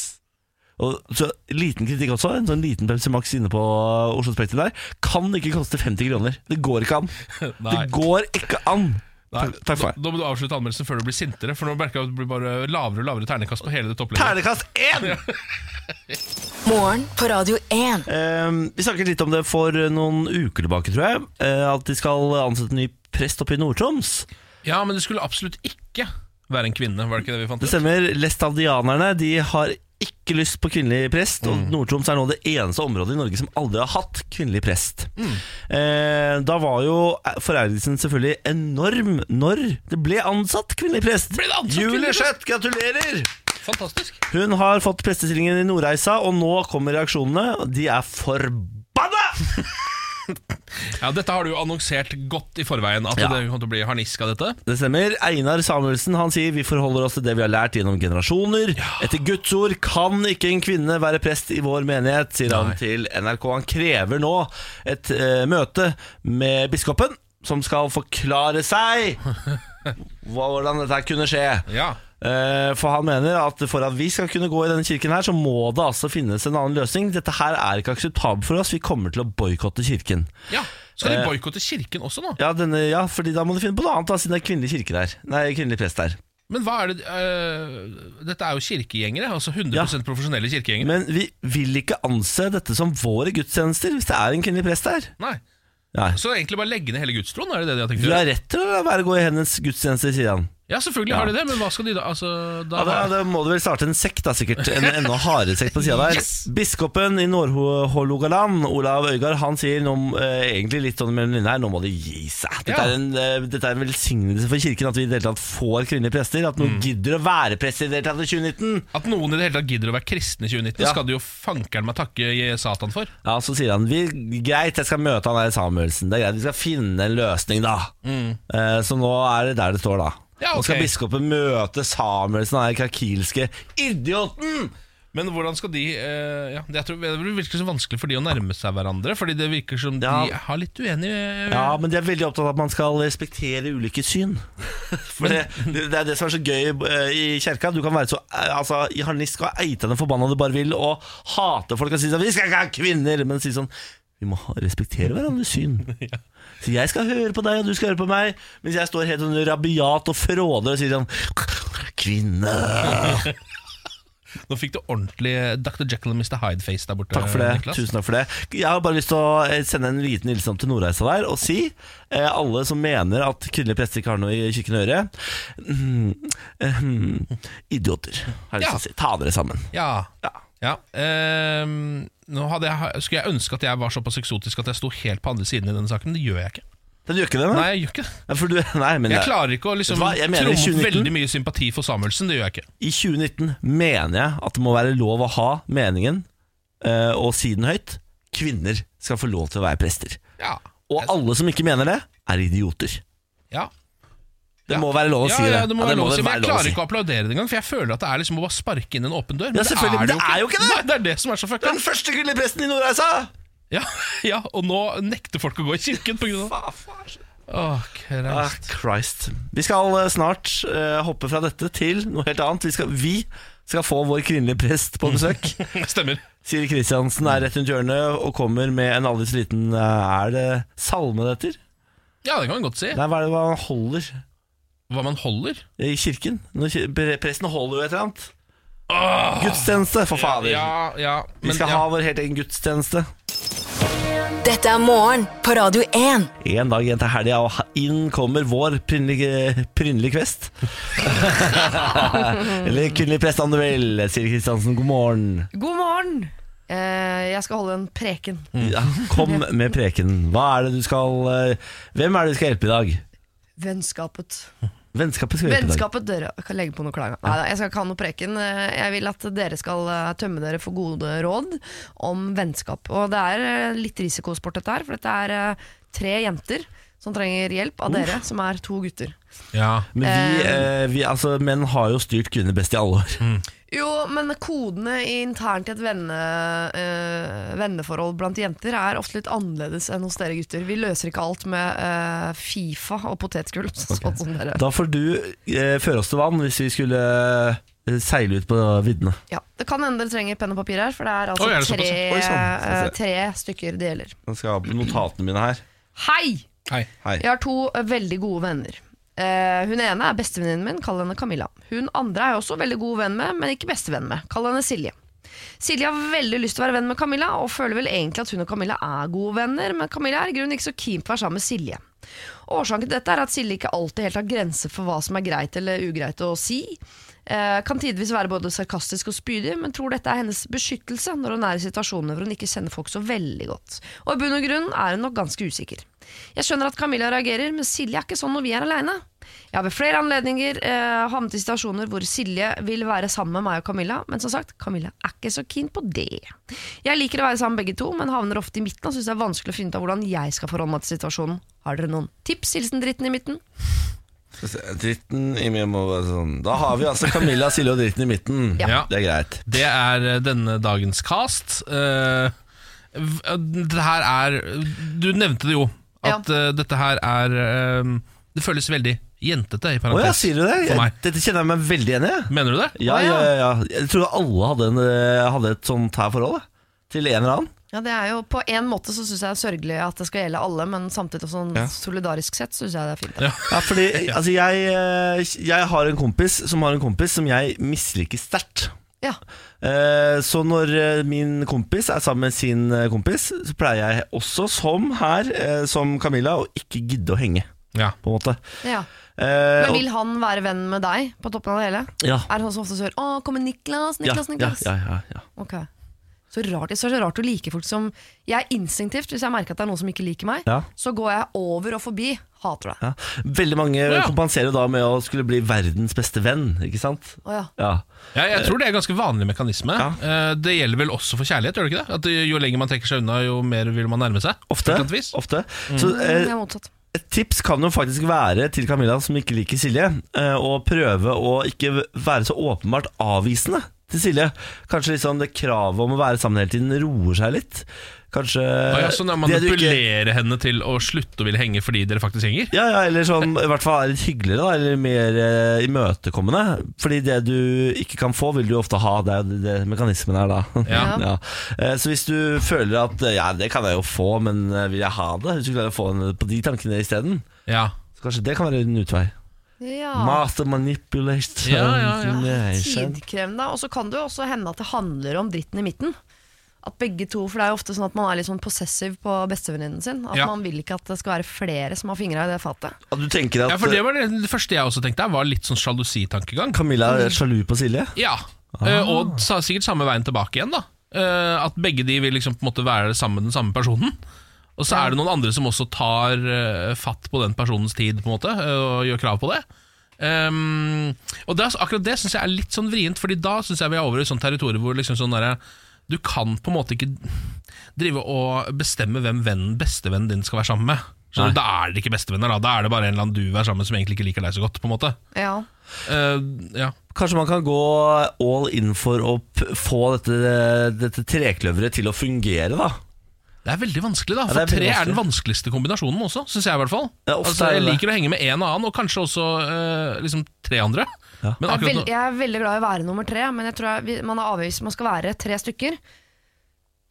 S1: Og så Liten kritikk også. En sånn liten Pepsi Max inne på uh, Oslo Spektrum der kan ikke koste 50 kroner. Det går ikke an.
S2: <laughs> Nei.
S1: Det går ikke an.
S2: Nei,
S1: Takk, takk for meg.
S2: Da, da må du avslutte anmeldelsen før du blir sintere, for nå merker jeg at det blir bare lavere og lavere ternekast på hele det topplegget.
S1: Ternekast <laughs> én!
S3: Morgen på Radio 1.
S1: Eh, vi snakket litt om det for uh, noen uker tilbake, tror jeg. eh, at de skal ansette en ny prest oppe i Nord-Troms.
S2: Ja, men det skulle absolutt ikke være en kvinne, var det ikke det vi fant
S1: Det
S2: ut?
S1: stemmer. Lestadianerne de har ikke lyst på kvinnelig prest.
S2: Mm.
S1: Og Nord-Troms er nå det eneste området i Norge som aldri har hatt kvinnelig prest.
S2: Mm.
S1: Eh, da var jo forargelsen selvfølgelig enorm når det ble ansatt kvinnelig prest.
S2: Ble det ansatt
S1: Julie
S2: kvinnelig
S1: Skjøtt, gratulerer!
S2: Fantastisk.
S1: Hun har fått prestestillingen i Nordreisa, og nå kommer reaksjonene. De er forbanna!
S2: Ja, Dette har du jo annonsert godt i forveien, at
S1: Ja.
S2: det kommer til å bli harnisk av dette.
S1: Det stemmer. Einar Samuelsen han sier vi forholder oss til det vi har lært gjennom generasjoner. Etter Guds ord kan ikke en kvinne være prest i vår menighet, sier han
S2: Nei.
S1: til NRK. Han krever nå et eh, møte med biskopen, som skal forklare seg <laughs> hvordan dette kunne skje.
S2: Ja.
S1: Eh, For han mener at for at vi skal kunne gå i denne kirken her, så må det altså finnes en annen løsning. Dette her er ikke akseptabelt for oss. Vi kommer til å boikotte kirken.
S2: ja. Skal
S1: Eh.
S2: de boikotte kirken også nå?
S1: Ja, denne, ja, fordi da må du finne på noe annet, da, siden det er kvinnelig kirke der. Nei, kvinnelig prest der.
S2: Men hva er det eh, Dette er jo kirkegjengere, altså 100 profesjonelle kirkegjengere.
S1: Men vi vil ikke anse dette som våre gudstjenester hvis det er en kvinnelig prest der.
S2: Nei.
S1: Nei.
S2: Så egentlig bare legge ned hele gudstroen, er det det de har
S1: Du
S2: tenkt å gjøre?
S1: har rett til å la være å gå i hennes gudstjenester, sier han.
S2: Ja, selvfølgelig har de det, men hva skal de da altså, da
S1: Ja, da, da må du vel starte en sekt, da, sikkert. En enda hardere sekt på sida der.
S2: Yes!
S1: Biskopen i Nord-Hålogaland, Olav Øygard, han sier nå, eh, egentlig litt sånn mellom linjene her, nå må det gi seg. Dette,
S2: Ja.
S1: er en, eh, dette er en velsignelse for kirken, at vi i det hele tatt får kvinnelige prester. At
S2: Mm.
S1: noen gidder å være prest i det hele tatt i 2019.
S2: At noen i det hele tatt gidder å være kristne i 2019,
S1: Ja.
S2: skal du jo fankeren meg takke Satan for.
S1: Ja, Så sier han vi, greit, jeg skal møte han her Samuelsen. Det er greit, vi skal finne en løsning, da. Eh, så nå er det der det står, da.
S2: Mm. Ja,
S1: Nå skal
S2: ok.
S1: biskopen møte Samuelsen, han her krakilske idioten!
S2: Men hvordan skal de eh, ja, det- jeg tror, Det virker så vanskelig for de å nærme seg hverandre, fordi det virker som
S1: Ja.
S2: de har litt uenige
S1: Ja, men de er veldig opptatt av at man skal respektere ulike syn. For det, det, det er det som er så gøy eh, i kjerka. Du kan være så eh, altså, i harnisk og eite den forbanna du bare vil, og hate folk og si sånn 'Vi skal ikke ha kvinner!' Men si sånn Vi må ha- respektere hverandres syn. Så jeg skal høre på deg, og du skal høre på meg, mens jeg står helt sånn rabiat og fråder og sier sånn 'Kvinne!'
S2: Nå fikk du ordentlig Dr. Jekyll og Mr. Hyde-face der borte.
S1: Takk for det.
S2: Eh, Niklas.
S1: Tusen takk for det. Jeg har bare lyst til å eh, sende en liten hilsen opp til Nordreisa der og si eh, alle som mener at kvinnelige prester ikke har noe i kirken å gjøre mm, ehm, Idioter, har jeg lyst til å si. Ta dere sammen.
S2: Ja.
S1: Ja.
S2: ja. Ehm, nå hadde jeg, skulle jeg ønske at jeg var såpass eksotisk at jeg sto helt på andre siden i denne saken, men det gjør jeg ikke.
S1: Den gjør ikke det,
S2: Nei,
S1: nei?
S2: jeg gjør ikke det.
S1: Ja, For du, nei men
S2: Jeg
S1: jeg-
S2: klarer ikke å liksom
S1: Vet du hva? Jeg mener
S2: tromme opp
S1: 2019.
S2: veldig mye sympati for Samuelsen. Det gjør jeg ikke.
S1: I 2019 mener jeg at det må være lov å ha meningen eh, og si den høyt. Kvinner skal få lov til å være prester.
S2: Ja.
S1: Og alle som ikke mener det, er idioter.
S2: ja.
S1: Det
S2: Ja.
S1: må være lov å
S2: Ja,
S1: si det.
S2: ja, det må
S1: Ja,
S2: være lov å
S1: det
S2: si, men jeg
S1: være lov å
S2: klarer ikke å applaudere det engang, for jeg føler at det er liksom å bare sparke inn en åpen dør.
S1: Ja, selvfølgelig, men det er jo ikke det!
S2: Nei, det er det som er så fucka.
S1: Den første kvinnelige presten i Nordreisa!
S2: Ja, ja, og nå nekter folk å gå i kirken på grunn av det.
S1: Hva faen?
S2: Åh,
S1: Ah,
S2: Christ.
S1: Christ. Vi skal eh, snart eh, hoppe fra dette til noe helt annet. Vi skal, vi skal få vår kvinnelige prest på
S2: <laughs>
S1: besøk.
S2: Stemmer.
S1: Siri Kristiansen er rett rundt hjørnet og kommer med en aldri så liten eh, Er det salme det heter?
S2: Ja, det kan man godt si.
S1: Nei, hva er det hva han holder
S2: Hva man holder.
S1: i kirken? Når ki- pre- presten holder jo et eller annet.
S2: Åh,
S1: Gudstjeneste, for fader.
S2: Ah. Ja, ja.
S1: Vi
S2: men
S1: skal
S2: ja.
S1: ha vår helt egen gudstjeneste.
S3: Dette er morgen på Radio 1.
S1: En dag igjen til helga, og ha- inn kommer vår prynnelige prynnelige kvest. Eller kvinnelig prest, om du vil. Siri Kristiansen, god morgen.
S4: God morgen! Eh, jeg skal holde en preken.
S1: Ja, kom med preken. Hva er det du skal eh, Hvem er det du skal hjelpe i dag?
S4: Vennskapet.
S1: Vennskapet skal hjelpe i dag.
S4: Vennskapet dere Jeg kan legge på noe klager. Nei da, jeg skal ikke ha noe preken. Eh, Jeg vil at dere skal eh, tømme dere for gode råd om vennskap. Og det er eh, litt risikosport dette her, for dette er eh, tre jenter som trenger hjelp av dere, som er to gutter.
S2: ja.
S1: Men vi, eh, vi altså, menn har jo styrt kvinner best i alle år.
S4: Jo, men kodene internt i et venne, eh, venneforhold blant jenter er ofte litt annerledes enn hos dere gutter. Vi løser ikke alt med eh, Fifa og potetgull. <laughs> Sånn som dere
S1: Da får du eh, føre oss til vann hvis vi skulle eh, seile ut på viddene.
S4: Ja, Det kan hende dere trenger penn og papir her, for det er altså
S2: Oi, er det
S4: tre,
S2: såpass,
S1: ja? Oi, sånn.
S4: eh, tre stykker det gjelder.
S1: Jeg skal ha på notatene mine her.
S4: Hei!
S2: Hei.
S1: Hei.
S4: Jeg har to eh, veldig gode venner. Eh, hun ene er bestevenninnen min, kall henne Camilla. Hun andre er jeg også veldig god venn med, men ikke bestevenn med. Kall henne Silje. Silje har veldig lyst til å være venn med Camilla, og føler vel egentlig at hun og Camilla er gode venner, men Camilla er i grunnen ikke så keen på å være sammen med Silje. Årsaken til dette er at Silje ikke alltid helt har grenser for hva som er greit eller ugreit å si. Eh, kan tidvis være både sarkastisk og spydig, men tror dette er hennes beskyttelse når hun er i situasjoner hvor hun ikke kjenner folk så veldig godt. Og i bunn og grunn er hun nok ganske usikker. Jeg skjønner at Camilla reagerer, men Silje er ikke sånn når vi er aleine. Jeg har ved flere anledninger eh, havnet i situasjoner hvor Silje vil være sammen med meg og Camilla, men som sagt, Camilla er ikke så keen på det. Jeg liker å være sammen med begge to, men havner ofte i midten og syns det er vanskelig å finne ut av hvordan jeg skal forholde meg til situasjonen. Har dere noen tips? Hilsen dritten i midten.
S1: Dritten i min må være sånn Da har vi altså Camilla, Silje og dritten i midten.
S2: Ja.
S1: Det er greit.
S2: Det er eh, denne dagens cast. Eh, v- eh, det her er Du nevnte det jo, at eh, dette her er eh, Det føles veldig jentete, i
S1: Å
S2: parentes.
S1: ja, sier du det?
S2: For meg.
S1: Dette kjenner jeg meg veldig igjen i. jeg.
S2: Mener du det?
S1: Ja,
S4: Å,
S1: ja,
S4: ja.
S1: ja, ja. Jeg tror alle hadde, en, eh, hadde et sånt her forhold. jeg. Til en eller annen.
S4: Ja, det er jo På en måte så syns jeg det er sørgelig at det skal gjelde alle, men samtidig også sånn solidarisk sett syns jeg det er fint.
S2: Ja.
S1: Ja, fordi altså, jeg, eh, jeg har en kompis som har en kompis som jeg misliker sterkt.
S4: Ja.
S1: Eh, Så når eh, min kompis er sammen med sin eh, kompis, så pleier jeg også, som her, eh, som Camilla, å ikke gidde å henge.
S2: Ja.
S1: på en måte.
S4: Ja.
S1: Eh,
S4: Men
S1: og-
S4: vil han være venn med deg på toppen av det hele?
S1: ja.
S4: Er han som oftest hører 'Å, kommer Niklas,
S1: Ja,
S4: Niklas,
S1: ja,
S4: Niklas'?
S1: ja, ja, ja.
S4: Ok. Så rart, så er det rart å like folk som Jeg er instinktivt, hvis jeg merker at det er noen som ikke liker meg,
S1: Ja.
S4: så går jeg over og forbi. Hater deg.
S1: Ja. Veldig mange
S2: Ja.
S1: kompenserer da med å skulle bli verdens beste venn, ikke sant?
S4: Å ja.
S1: Ja.
S2: Ja, jeg tror det er ganske vanlig mekanisme. Eh, Det gjelder vel også for kjærlighet, gjør det ikke det? At eh, jo lenger man trekker seg unna, jo mer vil man nærme seg.
S1: Ofte.
S2: På et eller annet vis.
S1: ofte.
S4: Mm.
S1: Så eh,
S4: Det er motsatt.
S1: Et tips kan jo faktisk være til Camilla som ikke liker Silje, eh, å prøve å ikke være så åpenbart avvisende til Silje. Kanskje litt sånn det kravet om å være sammen hele tiden roer seg litt. Kanskje
S2: Ah, ja, så når man
S1: Eh, det du ikke-
S2: manipulerer henne til å slutte å ville henge fordi dere faktisk henger?
S1: ja, ja, eller sånn i hvert fall er litt hyggeligere, da, eller mer eh, imøtekommende. Fordi det du ikke kan få, vil du ofte ha. Det er jo det, det mekanismen er da.
S2: Ja.
S1: <laughs> Ja. Eh, Så hvis du føler at eh, ja, det kan jeg jo få, men eh, vil jeg ha det? Hvis du klarer å få henne på de tankene isteden,
S2: Ja.
S1: så kanskje det kan være en utvei.
S4: Ja.
S1: Master manipulation.
S2: Ah. Ja, ja, ja.
S4: Tidkrevende. Og så kan det jo også hende at det handler om dritten i midten. At begge to, for Det er jo ofte sånn at man er litt sånn possessiv på bestevenninnen sin. At
S2: Ja.
S4: Man vil ikke at det skal være flere som har fingra i det fatet.
S1: At du tenker at
S2: ja, for det var det, det første jeg også tenkte her, var litt sånn sjalusitankegang.
S1: Camilla
S2: Mm.
S1: er sjalu på Silje?
S2: Ja, eh, og sa- sikkert samme veien tilbake igjen da Eh, At begge de vil liksom på en måte være sammen den samme personen Og så er det noen andre som også tar eh, fatt på den personens tid på en måte eh, Og gjør krav på det Ehm, Og det, er- akkurat det synes jeg er litt sånn vrient Fordi da synes jeg vi er over i sånn territorium hvor liksom sånn derre Du kan på en måte ikke drive og bestemme hvem vennen, bestevennen din skal være sammen med Skjønner du? Da er det ikke bestevenner da Da er det bare en eller annen du er sammen med som egentlig ikke liker deg så godt på en måte
S4: Ja.
S2: Eh, Ja
S1: Kanskje man kan gå all in for å p- få dette, dette trekløveret til å fungere, da.
S2: Det er veldig vanskelig, da.
S1: Ja,
S2: For
S1: det er veldig
S2: tre er den vanskeligste kombinasjonen også, syns jeg i hvert fall.
S1: Ja, ofte
S2: altså,
S1: er
S2: jeg
S1: det det.
S2: liker å henge med en annen, og kanskje også eh, liksom tre andre.
S1: Ja.
S2: Men
S4: Jeg, er
S2: akkurat
S4: veld,
S2: nå
S4: jeg er veldig glad i å være nummer tre, men jeg tror jeg, vi- man er avhengig, hvis man skal være tre stykker,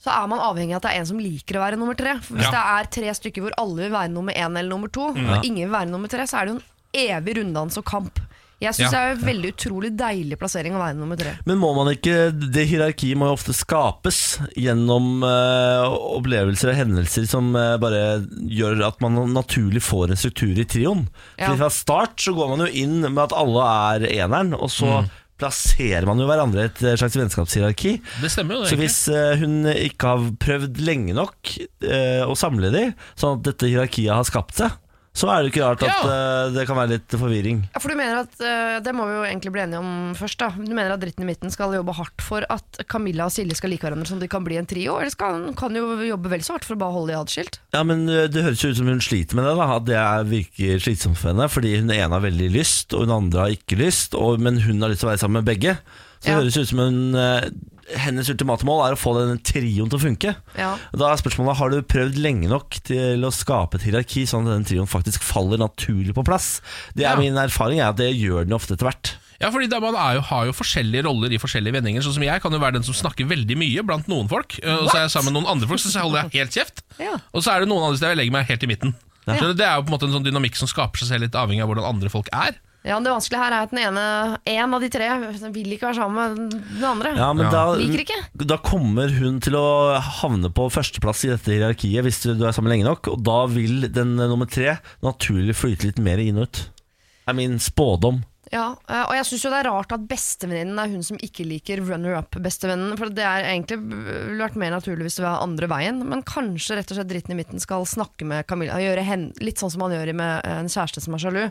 S4: så er man avhengig av at det er en som liker å være nummer tre. For hvis
S2: Ja. Mm.
S4: det er tre stykker hvor alle vil være nummer én eller nummer to, og ingen vil være nummer tre, så er det jo en evig runddans og kamp. Jeg
S2: Ja.
S4: syns det er en veldig utrolig deilig plassering å være nummer tre.
S1: Men må man ikke Det hierarkiet må jo ofte skapes gjennom eh, opplevelser og hendelser som eh, bare gjør at man naturlig får en struktur i trioen.
S4: Ja.
S1: Fordi Fra start så går man jo inn med at alle er eneren, og så plasserer man jo hverandre i et eh, slags vennskapshierarki.
S2: Det stemmer jo, det.
S1: Så
S2: egentlig.
S1: hvis eh, hun ikke har prøvd lenge nok eh, å samle de, sånn at dette hierarkiet har skapt seg, så er det jo ikke rart at eh, det kan være litt forvirring.
S4: Ja, for du mener at, eh, Det må vi jo egentlig bli enige om først. da Du mener at dritten i midten skal jobbe hardt for at Camilla og Silje skal like hverandre som de kan bli en trio? Eller skal han kan jo jobbe vel så hardt for å bare holde de atskilt?
S1: Ja, men eh, Det høres jo ut som hun sliter med det, da at det er- virker slitsomt for henne. Fordi hun ene har veldig lyst, og hun andre har ikke lyst, og, men hun har lyst til å være sammen med begge. Så det
S4: Ja.
S1: høres ut som hun eh, hennes ultimate mål er å få denne trioen til å funke.
S4: Ja.
S1: Da er spørsmålet, Har du prøvd lenge nok til å skape et hierarki, sånn at den trioen faktisk faller naturlig på plass? Det er
S2: Ja.
S1: Min erfaring er at det gjør den ofte etter hvert.
S2: Ja, fordi da Man er jo, har jo forskjellige roller i forskjellige vendinger. Sånn som Jeg kan jo være den som snakker veldig mye blant noen folk. eh, Og så er jeg sammen med noen andre folk, så så holder jeg helt kjeft.
S4: Ja.
S2: Og så er det noen andre steder jeg legger meg helt i midten. Så Det er jo på en måte en sånn dynamikk som skaper seg selv litt avhengig av hvordan andre folk er.
S4: Ja, men Det vanskelige her er at den ene, en av de tre vil ikke være sammen med den andre.
S1: Ja, men
S2: Ja.
S4: Liker
S1: da,
S4: ikke.
S1: da kommer hun til å havne på førsteplass i dette hierarkiet hvis du er sammen lenge nok, og da vil den eh, nummer tre naturlig flyte litt mer inn og ut. Det er min spådom.
S4: Ja, eh, Og jeg syns jo det er rart at bestevenninnen er hun som ikke liker runner-up-bestevennen. For det er egentlig ville vært mer naturlig hvis det var andre veien. Men kanskje rett og slett dritten i midten skal snakke med Camilla. Gjøre hen, litt sånn som han gjør med en kjæreste som er sjalu.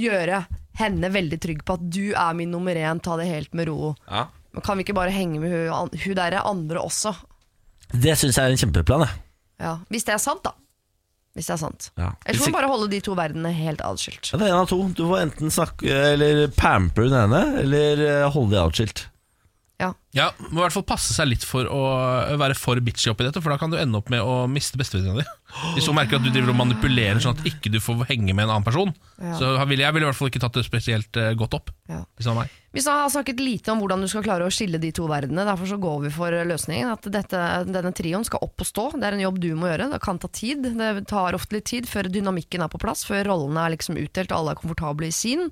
S4: Gjøre henne veldig trygg på at du er min nummer én, ta det helt med ro.
S2: Ja.
S4: Men Kan vi ikke bare henge med hun, an- hun der andre også?
S1: Det syns jeg er en kjempeplan. Jeg.
S4: Ja. Hvis det er sant, da. Hvis det er sant.
S1: Ja.
S4: Ellers må man bare holde de to verdenene helt adskilt.
S1: Ja, det er en av to. Du får enten snakke Eller pamper den ene, eller eh, holde de atskilt.
S4: Ja.
S2: Ja, Må i hvert fall passe seg litt for å være for bitchy oppi dette, for da kan du ende opp med å miste bestevenninna di. Hvis hun merker at du driver og manipulerer sånn at ikke du får henge med en annen person,
S4: Ja.
S2: så ville jeg ville i hvert fall ikke tatt det spesielt eh, godt opp.
S4: Ja.
S2: Hvis det var meg.
S4: Vi har snakket lite om hvordan du skal klare å skille de to verdenene. Derfor så går vi for løsningen at dette, denne trioen skal opp og stå. Det er en jobb du må gjøre. Det kan ta tid. Det tar ofte litt tid før dynamikken er på plass, før rollene er liksom utdelt og alle er komfortable i sin.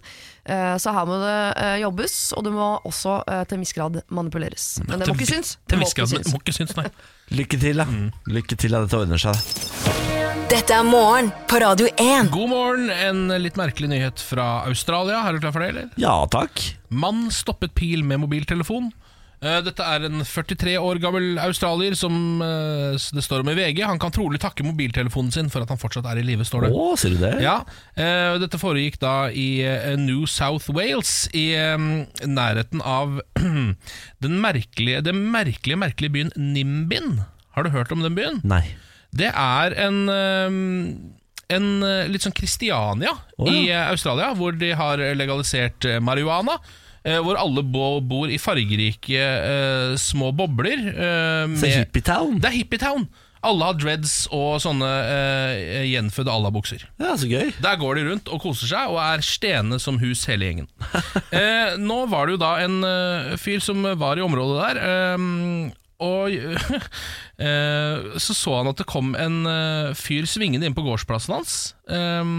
S4: Eh, Så her må det eh, jobbes, og det må også eh, til en viss grad manipuleres. Men det må ikke synes.
S2: Til
S4: Det
S2: en
S4: må
S2: viss
S4: ikke
S2: grad, men
S4: synes.
S2: må ikke synes, nei.
S1: Lykke til, da. Lykke til at dette ordner seg.
S3: Dette er morgen på Radio 1.
S2: God morgen, en litt merkelig nyhet fra Australia. Er du klar for det, eller?
S1: Ja takk.
S2: Mann stoppet pil med mobiltelefon. Eh, Dette er en 43 år gammel australier som eh, s- det står om i VG. Han kan trolig takke mobiltelefonen sin for at han fortsatt er i live, står det.
S1: Å, sier du det?
S2: Ja, eh, og Dette foregikk da i eh, New South Wales, i eh, nærheten av <clears throat> den merkelige, den merkelige, merkelige byen Nimbin. Har du hørt om den byen?
S1: Nei.
S2: Det er en, eh, en eh, litt sånn Kristiania
S1: Å, ja.
S2: i eh, Australia, hvor de har legalisert eh, marihuana. eh, Hvor alle bo- bor i fargerike eh, små bobler. eh,
S1: Så
S2: med,
S1: Hippietown.
S2: det er Hippietown! Alle har dreads og sånne eh, gjenfødde Allah-bukser.
S1: Ja, så gøy.
S2: Der går de rundt og koser seg og er stene som hus hele gjengen. Eh, nå var det jo da en eh, fyr som var i området der, eh, og <laughs> eh, så så han at det kom en eh, fyr svingende inn på gårdsplassen hans. Eh,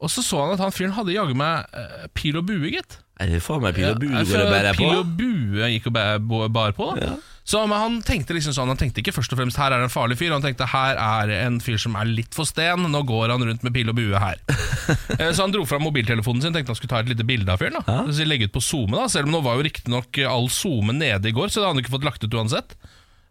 S2: og så så han at han fyren hadde jaggu meg eh, pil og bue, gitt.
S1: Er det faen meg pil og bue
S2: Ja, altså,
S1: går og bærer på?
S2: Pil og bue gikk og bæ- bo- bar på. Da. Så men Han tenkte liksom sånn Han tenkte ikke først og fremst her er det en farlig fyr, han tenkte her er det en fyr som er litt for sten, nå går han rundt med pil og bue
S1: <laughs>
S2: her. Eh, så han dro fram mobiltelefonen sin, tenkte han skulle ta et lite bilde av fyren. da
S1: Ja.
S2: Så Legge ut på SoMe, da selv om nå var jo riktignok all SoMe nede i går, så det hadde han ikke fått lagt ut uansett.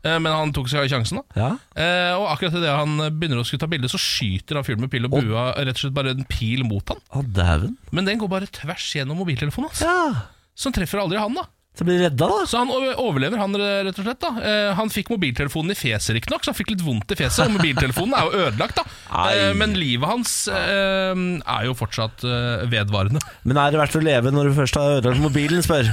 S2: Eh, Men han tok seg sjansen, da.
S1: Ja.
S2: Eh, og akkurat idet han begynner å skulle ta bilde, så skyter han fyren med pil og bue rett og slett bare en pil mot han.
S1: Å, dæven.
S2: Men den går bare tvers gjennom mobiltelefonen hans.
S1: Ja.
S2: Så den treffer aldri han, da.
S1: Så blir de redda, da.
S2: Så han o- overlever, han rett og slett. da Eh, Han fikk mobiltelefonen i fjeset, riktignok, så han fikk litt vondt i fjeset. Og mobiltelefonen er jo ødelagt, da.
S1: Ai.
S2: Eh, Men livet hans eh, er jo fortsatt eh, <laughs> vedvarende.
S1: Men er det verdt å leve når du først har ødelagt mobilen, <laughs> spør.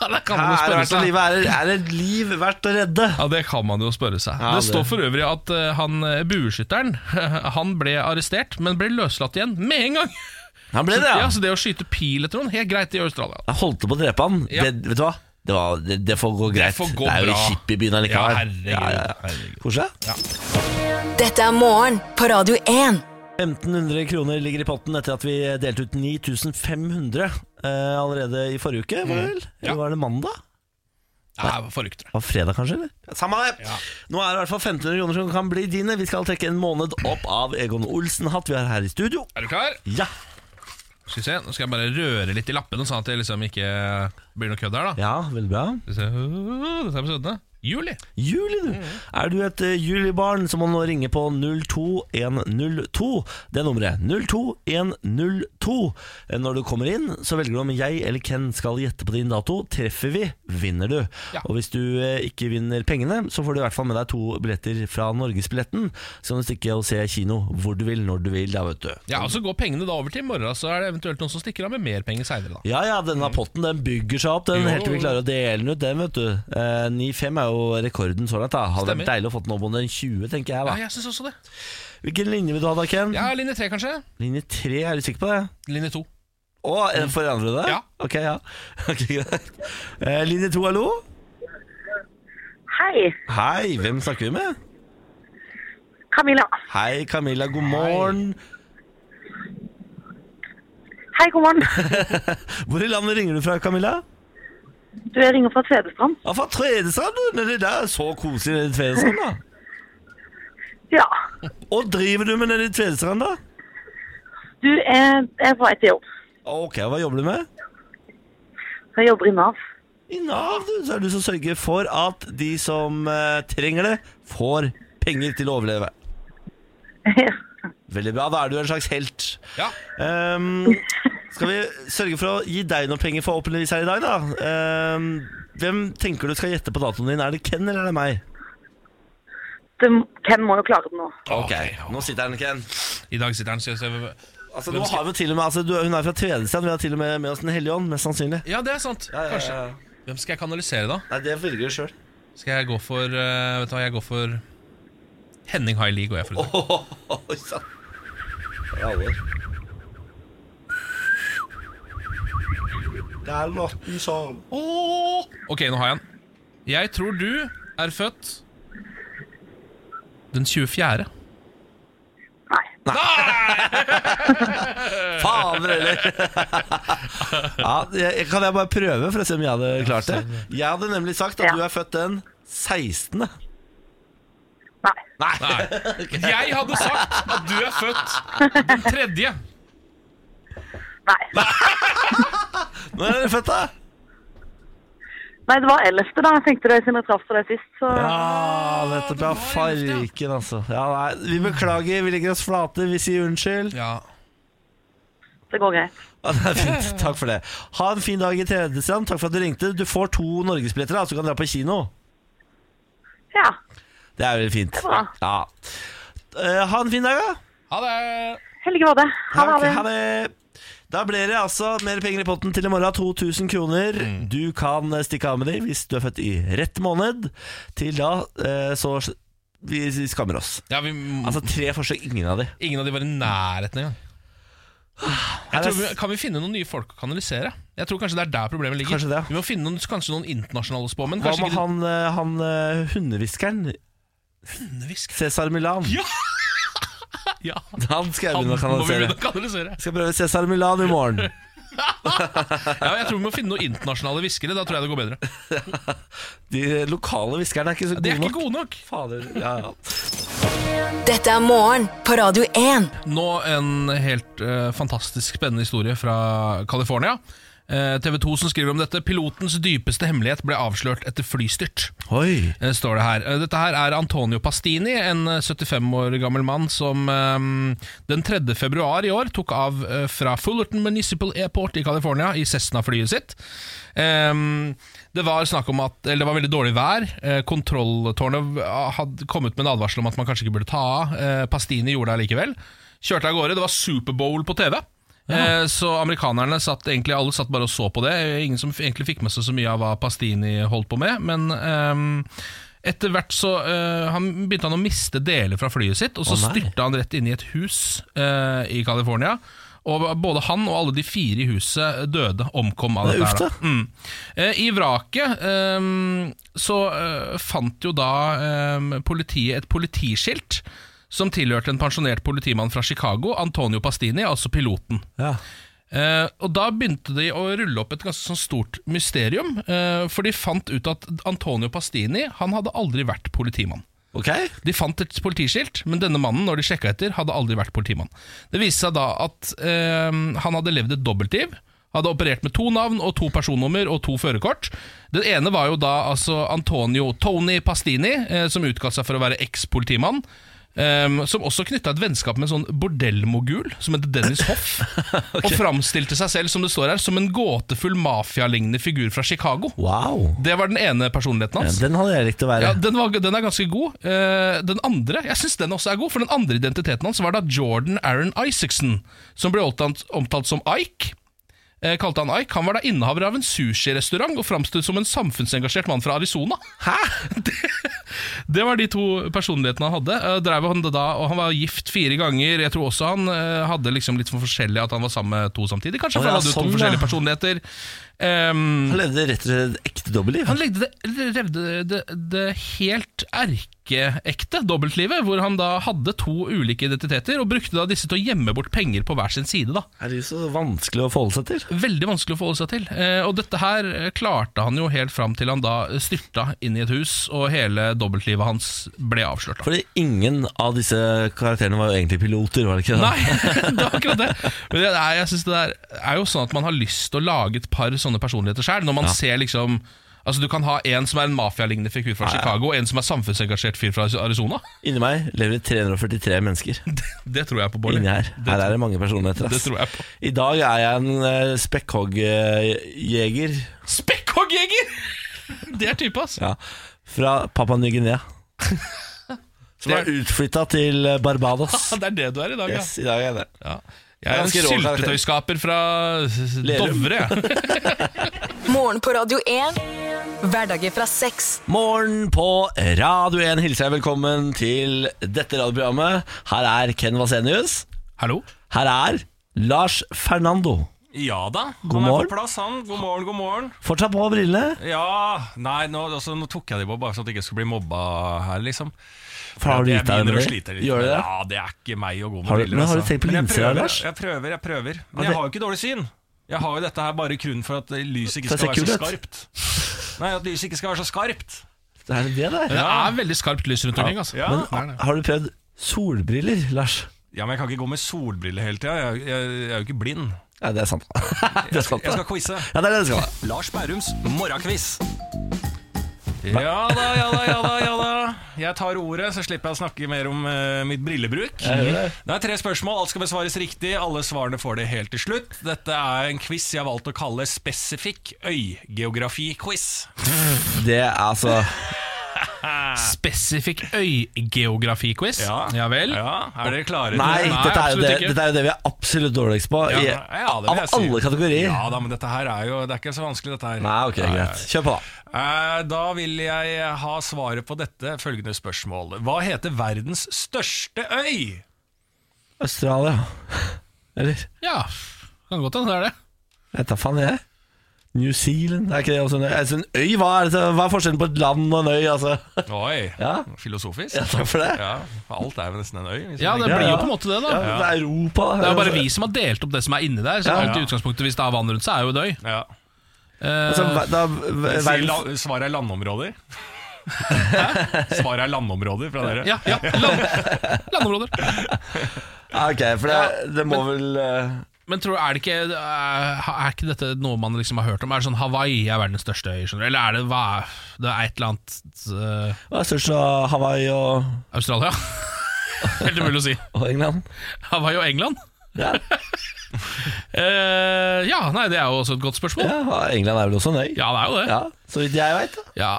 S1: Er
S2: det kan man jo
S1: det,
S2: spørre
S1: verdt å
S2: seg.
S1: live? Er, det- er det liv verdt å redde?
S2: Ja, det kan man jo spørre seg.
S1: Ja,
S2: det
S1: det-
S2: står for øvrig at eh, han eh, bueskytteren <laughs> Han ble arrestert, men ble løslatt igjen med en gang.
S1: Han ble det,
S2: Ja,
S1: ja.
S2: Så det å skyte pil etter noen, helt greit i Australia.
S1: Jeg holdt på å drepe han.
S2: Ja.
S1: Det, vet du hva? Det, var, det, det får gå greit.
S2: får gå
S1: det er jo
S2: bra.
S1: kjipt i byen allikevel.
S2: Ja, herregud, herregud.
S1: Koselig. Ja.
S3: Dette er morgen på Radio 1.
S1: 1500 kroner ligger i potten etter at vi delte ut 9500 eh, allerede i forrige uke, var det vel?
S2: Ja.
S1: Eller var det mandag?
S2: Ja, Forrykter.
S1: Var det fredag, kanskje? eller? Samme det! Nå er det i hvert fall 1500 kroner som kan bli dine. Vi skal trekke en måned opp av Egon Olsen-hatt vi har her i studio.
S2: Er du klar?
S1: Ja,
S2: Skal vi se, Nå skal jeg bare røre litt i lappene, sånn at det liksom ikke blir noe kødd her. da
S1: ja veldig bra.
S2: Skal vi se Øh, Dette er episodene. Juli.
S1: Juli, du. Er du et eh, julibarn, så må du nå ringe på 02102. Det er nummeret. 02102. Eh, Når du kommer inn, så velger du om jeg eller Ken skal gjette på din dato. Treffer vi, vinner du.
S2: Ja.
S1: Og hvis du eh, ikke vinner pengene, så får du i hvert fall med deg to billetter fra Norgesbilletten. Så kan du stikke og se kino hvor du vil, når du vil, da, vet du.
S2: Ja, og Så går altså, pengene da over til i morgen, så er det eventuelt noen som stikker av med mer penger seinere.
S1: Ja, ja, denne potten den bygger seg opp Den
S2: Mm. Jo.
S1: helt til vi klarer å dele den ut Den vet du eh, 9,5 er jo rekorden så langt da Hadde vært
S2: Stemmer.
S1: deilig å få den opp under 20 tenker jeg da
S2: Ja, jeg syns også det.
S1: Hvilken linje vil du ha da, Ken?
S2: Ja, Linje tre, kanskje?
S1: Linje 3, er du sikker på det?
S2: Linje to.
S1: Å, en for andre det?
S2: Mm. Ja.
S1: Ok, ja <laughs> Ok, greit Eh, Linje 2, hallo?
S5: Hei,
S1: Hei, hvem snakker vi med?
S5: Camilla.
S1: Hei, Camilla, god morgen
S5: Hei, god <laughs> morgen.
S1: Hvor i landet ringer du fra, Camilla?
S5: Du jeg ringer fra Tvedestrand.
S1: Ja, fra Tvedestrand, du Nede der, så koselig nede i Tvedestrand da
S5: Ja.
S1: Og driver du med nede i Tvedestrand da?
S5: Du er, er på vei til jobb.
S1: Ok, hva jobber du med?
S5: Jeg jobber i Nav. <laughs>
S1: I Nav du, så er du som sørger for at de som eh, trenger det, får penger til å overleve. Veldig bra. Da er du en slags helt.
S2: Ja.
S1: Ehm, skal vi sørge for å gi deg noen penger for åpenligvis her i dag, da? Ehm, hvem tenker du skal gjette på datoen din? Er det Ken eller er det meg?
S5: Det, hvem må jo klare det nå?
S1: Ok, nå sitter han, Ken.
S2: I dag sitter han skal jeg se-
S1: Altså, nå har vi jo til og med, altså, du, hun er fra Tvedestrand, vi har til og med med oss Den hellige ånd, mest sannsynlig.
S2: Ja, det er sant.
S1: Ja, ja,
S2: Kanskje.
S1: ja.
S2: Hvem skal jeg kanalisere, da?
S1: Nei, det velger du sjøl.
S2: Skal jeg gå for eh, Vet du hva, jeg går for Henning Haili går jeg for. i dag.
S1: Oi sann. Det er alvor. Det er natten som
S2: Åh! Ok, nå har jeg den. Jeg tror du er født den 24.
S5: Nei.
S1: Fader <laughs> heller! ja, jeg, kan jeg bare prøve for å se om jeg hadde klart det? Jeg hadde nemlig sagt at
S5: Ja.
S1: du er født den 16.
S5: Nei.
S1: Nei.
S2: <laughs> Jeg hadde sagt at du er født den tredje.
S5: Nei.
S1: Når er dere født, da?
S5: Nei, det var ellevte da. Jeg tenkte det siden jeg traff på deg sist, så
S1: Ja, Ah, nettopp. Ja, farken, altså. Ja, nei, vi beklager, vi legger oss flate, vi sier unnskyld.
S2: Ja.
S5: det går greit.
S1: Ja, det er fint, Takk for det. Ha en fin dag i Tredjestrand. Takk for at du ringte. Du får to norgesbilletter, da, så du kan dra på kino.
S5: Ja.
S1: Det er veldig fint.
S5: bra.
S1: Ja. Eh, ha en fin dag, da.
S2: Ha det.
S5: I like måte. Ha
S1: Takk,
S5: det, ha det.
S1: ha det. Da ble det altså mer penger i potten til i morgen. 2000 kroner. Du kan eh, stikke av med dem hvis du er født i rett måned. Til da eh, så vi vi skammer oss.
S2: Ja, vi,
S1: Altså tre forsøk, ingen av de.
S2: ingen av de var i nærheten engang. Jeg tror, vi- kan vi finne noen nye folk å kanalisere? Jeg tror Kanskje det er der problemet ligger.
S1: Kanskje det, ja.
S2: Vi må finne noen, kanskje noen internasjonale spåmenn.
S1: Hva
S2: Kanskje
S1: med
S2: ikke
S1: han, eh, han eh, hundehviskeren?
S2: Hundehvisker?
S1: Cæsar Milan.
S2: Ja! Ja,
S1: Han skal <laughs> jeg
S2: han må
S1: begynne å
S2: vi
S1: kanalisere.
S2: begynne å kanalisere.
S1: Skal prøve Cæsar Milan i morgen.
S2: Ja, jeg tror vi må finne noen internasjonale hviskere. Da tror jeg det går bedre.
S1: De lokale hviskerne er ikke så
S2: De
S1: gode
S2: er ikke
S1: nok.
S2: gode nok.
S1: Fader, ja, ja.
S3: Dette er morgen på Radio 1.
S2: Nå en helt eh, fantastisk spennende historie fra California. Eh, TV 2 som skriver om dette. Pilotens dypeste hemmelighet ble avslørt etter flystyrt.
S1: Oi.
S2: eh, står det her. Eh, Dette her er Antonio Pastini, en eh, 75 år gammel mann som eh, den 3. februar i år tok av eh, fra Fullerton Municipal Airport i California i Cessna-flyet sitt. Eh, det var snakk om at eller det var veldig dårlig vær. Eh, Kontrolltårnet eh, hadde kommet med en advarsel om at man kanskje ikke burde ta av. Eh, Pastini gjorde det likevel. Kjørte av gårde. Det var Superbowl på TV. Eh, Så amerikanerne satt egentlig Alle satt bare og så på det. Ingen som f- egentlig fikk med seg så mye av hva Pastini holdt på med. Men ehm, etter hvert så eh, han begynte han å miste deler fra flyet sitt, og så
S1: Å, nei.
S2: styrta han rett inn i et hus eh, i California. Og Både han og alle de fire i huset døde, omkom av
S1: Det er
S2: dette. her,
S1: uff,
S2: da.
S1: da.
S2: Mm. Eh, I vraket ehm, så eh, fant jo da ehm, politiet et politiskilt som tilhørte en pensjonert politimann fra Chicago, Antonio Pastini, altså piloten.
S1: Ja.
S2: Eh, og Da begynte de å rulle opp et ganske sånn stort mysterium, eh, for de fant ut at Antonio Pastini Han hadde aldri vært politimann.
S1: Ok.
S2: De fant et politiskilt, men denne mannen når de sjekket etter, hadde aldri vært politimann. Det viste seg da at eh, han hadde levd et dobbeltliv. Hadde operert med to navn og to personnummer og to førerkort. Den ene var jo da altså Antonio Tony Pastini, eh, som utga seg for å være eks-politimann. eh, som også knytta et vennskap med en sånn bordellmogul som het Dennis Hoff. Og framstilte seg selv som det står her, som en gåtefull mafialignende figur fra Chicago.
S1: Wow.
S2: Det var den ene personligheten
S1: Ja,
S2: hans.
S1: den hadde jeg likt å være.
S2: Ja, den, var, den er ganske god. Eh, den andre jeg synes den også er god, for den andre identiteten hans var da Jordan Aaron Isaacson, som ble omtalt, omtalt som Ike. Eh, kalte han Ike. Han var da innehaver av en sushirestaurant og framstod som en samfunnsengasjert mann fra Arizona. Hæ? <laughs> Det, det var de to personlighetene han hadde. Eh, drev han det da, og Han var gift fire ganger. Jeg tror også han eh, hadde liksom litt for forskjellig at han var sammen med to samtidig. Kanskje
S1: Å,
S2: for
S1: ja,
S2: han hadde jo
S1: sånn,
S2: to forskjellige
S1: ja.
S2: personligheter. Um,
S1: Han levde rett og slett et ekte dobbeltliv.
S2: han legde det, levde det, det helt erkeekte dobbeltlivet, hvor han da hadde to ulike identiteter, og brukte da disse til å gjemme bort penger på hver sin side. da.
S1: Er det så vanskelig å forholde seg til?
S2: Veldig vanskelig å forholde seg til. Eh, og dette her eh, klarte han jo helt fram til han da styrta inn i et hus, og hele dobbeltlivet hans ble avslørt.
S1: <laughs>
S2: da.
S1: Fordi ingen av disse karakterene var jo egentlig piloter, var det ikke det?
S2: Nei, <laughs> det er akkurat det. Men det er, jeg synes det der er jo sånn at man har lyst til å lage et par sånne personligheter sjøl. Når man ser liksom Altså Du kan ha en som er en mafialignende figur fra Chicago, og en som er samfunnsengasjert fyr fra Arizona.
S1: Inni meg lever det 343 mennesker.
S2: <laughs> Det tror jeg på, Bård.
S1: Inni her.
S2: Det
S1: Her
S2: tror-
S1: er det mange personligheter. ass.
S2: Det tror jeg på.
S1: I dag er jeg en eh, spekkhoggjeger
S2: Spekkhoggjeger! <laughs> Det er type, ass.
S1: ja, fra Papua
S2: <laughs>
S1: Ny-Guinea. Som
S2: Det er-
S1: er utflytta til eh, Barbados.
S2: <laughs> Det er det du er i dag, ja.
S1: Yes, I dag er det.
S2: ja. Jeg er en
S1: Ganske rå karakter.
S2: syltetøyskaper fra
S1: Lerum.
S2: Dovre.
S1: <laughs>
S2: jeg.
S3: Morgen på Radio 1. Hverdager fra seks.
S1: Morgen på Radio 1 hilser jeg velkommen til dette radioprogrammet. Her er Ken Vasenius.
S2: Hallo?
S1: Her er Lars Fernando.
S6: Ja da, han
S1: God
S6: er
S1: morgen.
S6: på plass han. God morgen, god morgen.
S1: Fortsatt på brillene.
S6: Ja, nei, nå, altså, nå tok jeg de på bare sånn at jeg ikke skulle bli mobba her, liksom.
S1: For har du
S6: jeg
S1: gitt deg
S6: begynner å
S1: med
S6: slite litt.
S1: Gjør du det?
S6: Ja, det er ikke meg å gå med
S1: Har du-
S6: briller, altså.
S1: men har du tenkt på
S6: Men jeg
S1: linser her,
S6: prøver,
S1: Lars?
S6: Jeg prøver, jeg prøver.
S1: Ja,
S6: Men
S1: det-
S6: jeg har jo ikke dårlig syn. Jeg har jo dette her bare kun for at lyset ikke
S1: For å
S6: skal
S1: se
S6: være så
S1: kul ut.
S6: skarpt. Nei, at lyset ikke skal være så skarpt.
S1: Er det det der?
S2: Det er veldig skarpt lys rundt omkring. Altså.
S6: Ja.
S1: Men har- har du prøvd solbriller, Lars?
S6: Ja, men jeg kan ikke gå med solbriller hele tida. Jeg, jeg, jeg er jo ikke blind.
S1: Ja, det er sant. <laughs> det skal
S6: Jeg
S1: du.
S6: skal quize.
S1: Ja, det er det du skal.
S6: Lars Bærums morgenquiz. Ja da, ja da, ja da. ja da Jeg tar ordet, så slipper jeg å snakke mer om eh, mitt brillebruk. Det er tre spørsmål, alt skal besvares riktig. Alle svarene får det helt til slutt. Dette er en quiz jeg har valgt å kalle Spesifikk øygeografi-quiz.
S1: Det er
S6: <laughs>
S1: altså
S2: Spesifikk øygeografi-quiz. Ja. vel.
S6: Ja, er dere klare? til
S1: Nei,
S6: det?
S2: Nei,
S1: dette, er jo
S2: absolutt
S1: det,
S2: ikke.
S1: dette er jo det vi er absolutt dårligst på. I,
S6: Ja, ja, det vil
S1: av
S6: jeg si.
S1: alle kategorier.
S6: Ja da, men dette her er jo Det er ikke så vanskelig, dette her.
S1: Nei, ok, greit. Kjør på, da.
S6: Eh, Da vil jeg ha svaret på dette følgende spørsmål. Hva heter verdens største øy?
S1: Australia. Eller
S2: Ja, kan godt hende det er det.
S1: Jeg tar faen, jeg. New Zealand, er ikke det også en øy? Altså, en øy hva, er det, hva er forskjellen på et land og en øy, altså?
S6: Oi,
S1: Ja.
S6: filosofisk.
S1: Ja, takk for det.
S6: Ja, alt er jo nesten en øy. hvis
S2: Ja,
S6: man
S2: det
S6: tenker-
S2: blir
S1: ja.
S2: jo på en måte det,
S1: Ja,
S2: da.
S1: det er Europa.
S2: Det er jo bare vi som har delt opp det som er inni der. Så alt i utgangspunktet Hvis det er vann rundt, så er jo det øy.
S6: ja.
S2: Eh,
S1: Altså, hva- da,
S6: Sier
S1: verdens,
S6: la- Svaret er
S2: <laughs>
S6: landområder. Svaret er landområder fra dere.
S2: ja, ja,
S1: <laughs>
S2: land, landområder.
S1: Ja, ok, for det, det må vel eh,
S2: Men tror du, er det ikke eh, Er ikke dette noe man liksom har hørt om? Er det sånn Hawaii er verdens største øy? Skjønner du? Eller er det hva er- Det er et eller annet eh,
S1: Hva er størst av Hawaii og,
S2: Australia? <laughs> Helt umulig å si.
S1: og England?
S2: Hawaii og England?
S1: Ja.
S2: <laughs> Eh, ja, nei, det er jo også et godt spørsmål.
S1: ja, England er vel også en øy?
S2: Ja, det er jo det.
S1: Ja, Så vidt jeg veit, da.
S2: Ja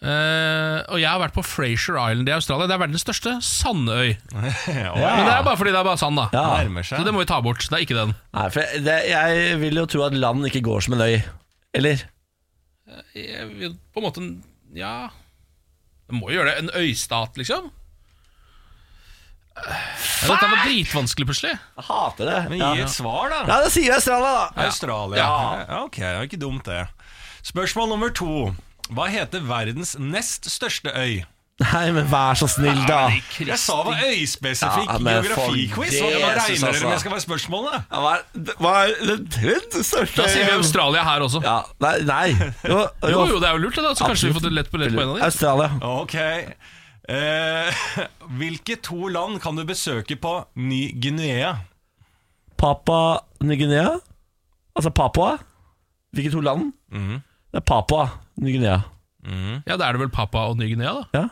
S2: Eh, Og jeg har vært på Fraser Island i Australia. Det er verdens største sandøy.
S6: <laughs> Oi,
S2: Men det er bare fordi det er bare sand, da.
S1: Ja.
S6: Nærmer
S2: Så
S6: seg.
S2: det må vi ta bort. Det er ikke den.
S1: Nei, for det, jeg vil jo tro at land ikke går som en øy. Eller?
S2: Jeg vil Eh, På en måte Ja Det må jo gjøre det. En øystat, liksom. Ja, dette var dritvanskelig, plutselig.
S1: Jeg hater det.
S6: Men
S1: ja.
S6: gi et svar, da.
S1: ja, da sier vi Australia, da.
S6: Australia.
S1: Ja.
S6: Ja, ok, det er ikke dumt, det. Spørsmål nummer to. Hva heter verdens nest største øy?
S1: Nei, men vær så snill, da.
S6: Jeg sa det var øyspesifikk
S1: Ja, men for
S6: geografiquiz. Hva
S1: Jesus,
S6: regner dere
S1: altså.
S6: med skal være spørsmålene?
S1: Hva er, den tredje største
S2: Da sier vi Australia her også.
S1: Eh, Ja, nei, nei. Jo,
S2: Jo, jo, det er jo lurt, det. da Så kanskje vi får det lett på lett på en av de.
S1: Australia.
S6: Ok. Eh, <laughs> hvilke to land kan du besøke på Ny-Guinea?
S1: Papua Ny-Guinea. Altså Papua. Hvilke to land?
S2: Mhm.
S1: Det er Papua Ny-Guinea.
S2: Ja, Da er det vel Papa og Ny-Guinea, da.
S1: Ja.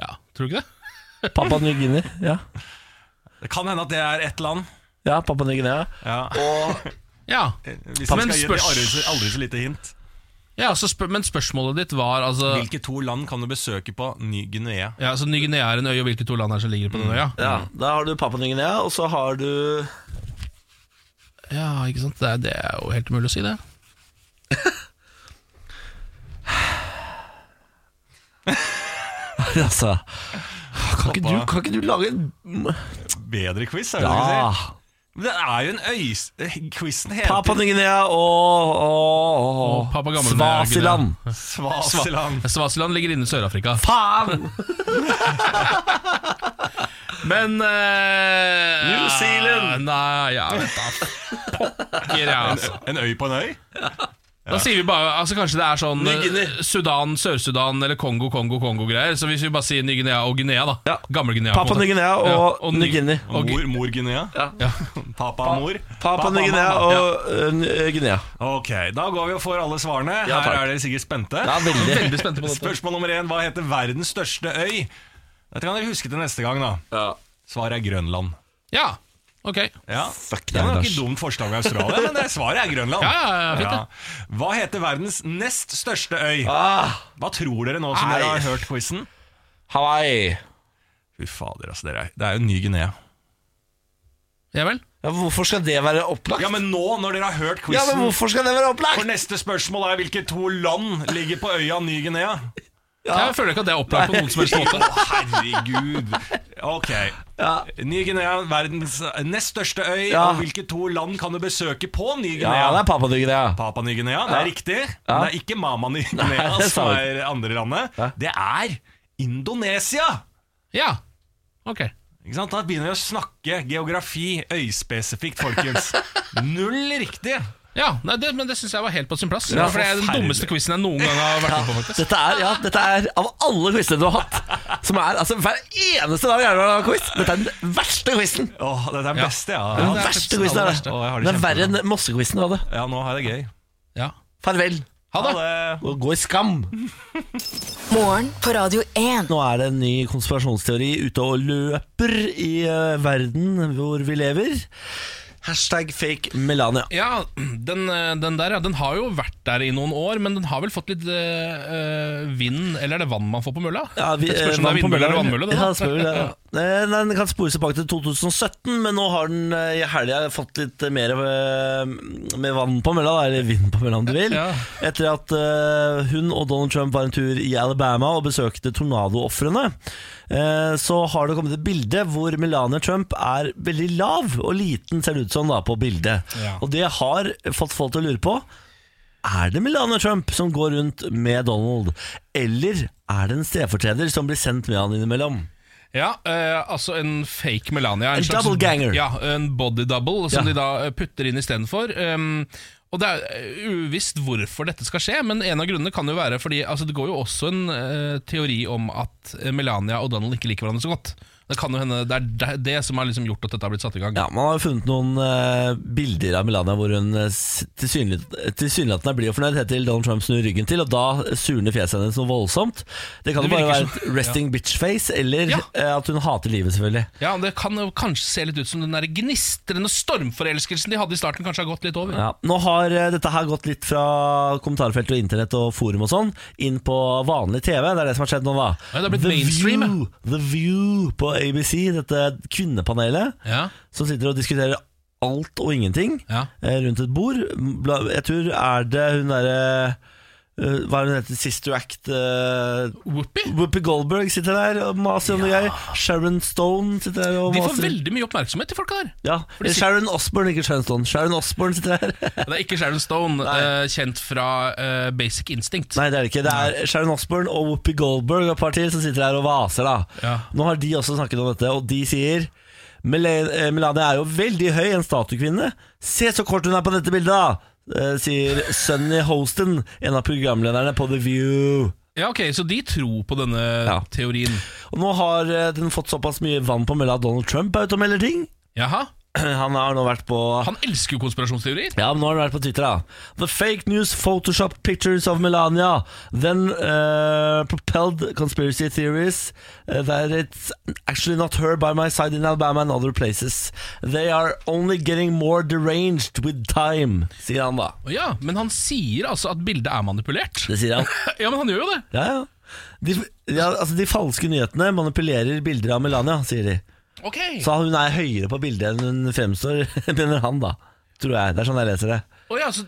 S2: Ja, Tror du ikke det?
S1: Papua Ny-Guinea. Ja.
S6: Det kan hende at det er ett land.
S1: ja, Papua Ny-Guinea.
S6: Ja.
S2: Ja,
S6: Hvis vi
S2: Men
S6: skal gi et
S2: spørs-
S6: aldri, så- aldri så lite hint.
S2: ja så spør, Men spørsmålet ditt var altså
S6: Hvilke to land kan du besøke på Ny-Guinea?
S2: Ja, så Ny-Guinea er en øy, og hvilke to land er det som ligger på den øya?
S1: Mm. Ja, Da har du Papua Ny-Guinea, og så har
S2: <laughs>
S1: du
S2: Ja, ikke sant? Det er, det er jo helt umulig å si det.
S1: Altså Kan ikke
S6: Papua.
S1: du, kan ikke du lage en
S6: Bedre quiz, er det det
S1: Ja.
S6: du sier? Men det er jo en øys... eh, Quizen
S1: Papua
S6: heter
S1: Ny-Guinea og, og, og,
S2: Og Papua Gamle Ny-Guinea.
S1: Svasiland.
S6: Svasiland.
S2: Svasiland ligger inne i Sør-Afrika.
S1: Faen!
S2: Men eh, Ah,
S6: New Zealand!
S2: Nei, ja, vet da. Pokker, ja, altså.
S6: En øy på en øy?
S2: Da sier vi bare altså Kanskje det er sånn eh,
S1: Ny-Guinea.
S2: Sudan, Sør-Sudan eller Kongo, Kongo, Kongo-greier. Så hvis vi bare sier Ny-Guinea og Guinea, da.
S1: Ja.
S2: Gamle-Guinea. på en
S1: Papua
S2: måte.
S1: Ny-Guinea og,
S2: Ja, og Ny-
S1: Ny-Guinea.
S2: Og Gu-
S6: Mor, mor Guinea? <laughs>
S2: Ja.
S6: Papa mor?
S1: Papua Ny-Guinea
S6: mamma.
S1: og eh, Ny- Guinea.
S6: Ok, da går vi og får alle svarene.
S1: Ja, takk.
S6: Her er dere sikkert spente.
S1: Ja, veldig.
S2: Veldig spente på dette.
S6: Spørsmål nummer én. Hva heter verdens største øy? Dette kan dere huske til neste gang, da. Svaret er Grønland.
S2: Ja, ok.
S6: Ja.
S1: Fuck
S6: Det
S1: deg,
S6: var
S1: Lars.
S6: ikke et dumt forslag med Australia, men det svaret er Grønland.
S2: Ja, ja, ja, fint det.
S6: Hva heter verdens nest største øy?
S1: Ah,
S6: Hva tror dere nå som
S1: Nei.
S6: dere har hørt quizen?
S1: Hawaii.
S6: Fy fader, altså. Dere er, det er jo Ny-Guinea.
S2: Ja vel?
S1: Ja, hvorfor skal det være opplagt?
S6: Ja, men nå, når dere har hørt
S1: Ja, men
S6: quizen
S1: hvorfor skal det være
S6: For
S1: opplagt?
S6: neste spørsmål er hvilke to land ligger på øya Ny-Guinea?
S2: Jeg føler ikke at det er opplagt på noen som helst
S1: <laughs>
S6: Å,
S2: måte.
S6: herregud. Ok.
S1: Ja.
S6: Ny-Guinea, verdens nest største øy.
S1: Ja.
S6: Og hvilke to land kan du besøke på
S1: Ja,
S6: Ny-Guinea?
S1: det er Papua Ny-Guinea.
S6: Papua Ny-Guinea, det er riktig. Men det er ikke Mama Ny-Guinea
S1: <laughs> Nei, det er
S6: som
S1: sant.
S6: er andre landet.
S1: Ja.
S6: Det er Indonesia!
S2: Ja, ok.
S6: Ikke
S1: <laughs>
S6: sant? Da begynner vi å snakke geografi øyspesifikt, folkens. Null riktig.
S2: Ja, nei, det, men det syns jeg var helt på sin plass.
S1: Ja,
S2: for det er den
S6: forferdelig.
S2: dummeste quizen jeg noen gang har vært med på. faktisk
S1: Dette er, ja, dette er av alle quizene du har hatt Som er, altså hver eneste dag er det en quiz Dette er den verste quizen
S6: Åh, det er den
S2: Ja.
S6: beste, ja.
S1: Den
S2: det er
S6: ja.
S2: faktisk
S1: verste
S2: den
S1: quizen
S2: aller
S1: er det
S2: verste.
S6: Å, jeg har det
S1: Den er verre
S6: kjempebra.
S1: enn mossequizen du hadde
S6: Ja, nå har jeg det gøy.
S2: Ja.
S1: Farvel
S2: Ha det!
S1: og gå i skam
S3: Morgen på Radio 1.
S1: Nå er det en ny konspirasjonsteori ute og løper i eh, verden hvor vi lever Hashtag fake Melania
S2: Ja, den, eh, den der, ja. Den har jo vært der i noen år, men den har vel fått litt eh, eh, vind Eller er det vann man får på mølla?
S1: Ja, vi,
S2: det spørs om
S1: eh,
S2: det er vindmølle eller vannmølle. det da.
S1: Ja, det spør vi det, ja. Eh, nei, Den kan spores tilbake til 2017, men nå har den eh, i helga fått litt mer eh, med vann på mølla, da, eller vind på mølla om du vil.
S2: Ja.
S1: Etter at eh, hun og Donald Trump var en tur i Alabama og besøkte tornadoofrene, eh, så har det kommet et bilde hvor Melania Trump er veldig lav og liten, ser det ut som da, på bildet.
S2: Ja.
S1: Og det har fått folk til å lure på. Er det Melania Trump som går rundt med Donald, eller er det en stedfortreder som blir sendt med han innimellom?
S2: Ja, eh, altså en fake Melania.
S1: En
S2: slags-
S1: double ganger.
S2: Ja, en body double, som
S1: Ja.
S2: de da eh, putter inn istedenfor. Um, og det er eh, uvisst hvorfor dette skal skje, men en av grunnene kan jo være fordi altså, det går jo også en eh, teori om at eh, Melania og Donald ikke liker hverandre så godt. Det kan jo hende det er det- det som har liksom gjort at dette har blitt satt i gang.
S1: Ja, Man har jo funnet noen eh, bilder av Melania hvor hun eh, s- tilsynelat- tilsynelatende er blid og fornøyd helt til Donald Trump snur ryggen til, og da surner fjeset hennes noe voldsomt. Det kan
S2: Det
S1: jo bare
S2: virker
S1: være et resting bitch-face, eller
S2: Ja.
S1: eh, at hun hater livet, selvfølgelig.
S2: Ja, Det kan jo kanskje se litt ut som den der gnistrende stormforelskelsen de hadde i starten, kanskje har gått litt over.
S1: Ja. Nå har eh, dette her gått litt fra kommentarfelt og internett og forum og sånn, inn på vanlig TV. Det er det som har skjedd nå, da.
S2: Ja, det har blitt mainstream,
S1: View, The View på ABC, dette kvinnepanelet,
S2: Ja,
S1: som sitter og diskuterer alt og ingenting
S2: ja.
S1: eh, rundt et bord. Bla- Jeg tror er det hun derre eh, Hva er hun heter? Sister Act eh,
S2: Whoopi?
S1: Whoopi Goldberg sitter der og maser om noe greier. Sharon Stone sitter der og
S2: De får
S1: maser.
S2: veldig mye oppmerksomhet, de folka der.
S1: ja.
S2: for de sit-
S1: Sharon Osborne, ikke Sharon Stone. Sharon Osborne sitter der.
S2: Det er ikke Sharon Stone, eh, kjent fra eh, Basic Instinct.
S1: Nei, det er det ikke. Det er Sharon Osbourne og Whoopi Goldberg og et par til som sitter her og vaser. da
S2: Ja.
S1: Nå har de også snakket om dette, og de sier "Mele- eh, Melania er jo veldig høy, en statuekvinne. Se så kort hun er på dette bildet, da! eh, Sier Sunny Hostin, en av programlederne på The View.
S2: Ja, ok, Så de tror på denne
S1: Ja.
S2: teorien.
S1: Og nå har eh, den fått såpass mye vann på mølla at Donald Trump er ute og melder ting. <clears throat>
S2: Jaha,
S1: Han har nå vært på
S2: Han elsker jo konspirasjonsteorier.
S1: Ja, men nå har det vært på Twitter da The fake news Photoshop pictures of Melania Then uh, propelled conspiracy theories uh, That it's actually not her by my side in Alabama and other places They are only getting more deranged with time Sier han da
S2: Å Ja, Men han sier altså at bildet er manipulert.
S1: Det sier han
S2: <laughs> Ja, men han gjør jo det.
S1: Ja, ja de, ja, altså de falske nyhetene manipulerer bilder av Melania, sier de
S2: Ok
S1: Så hun er høyere på bildet enn hun fremstår <laughs> Begynner han da, tror jeg Det er sånn jeg leser det
S2: Å ja, så,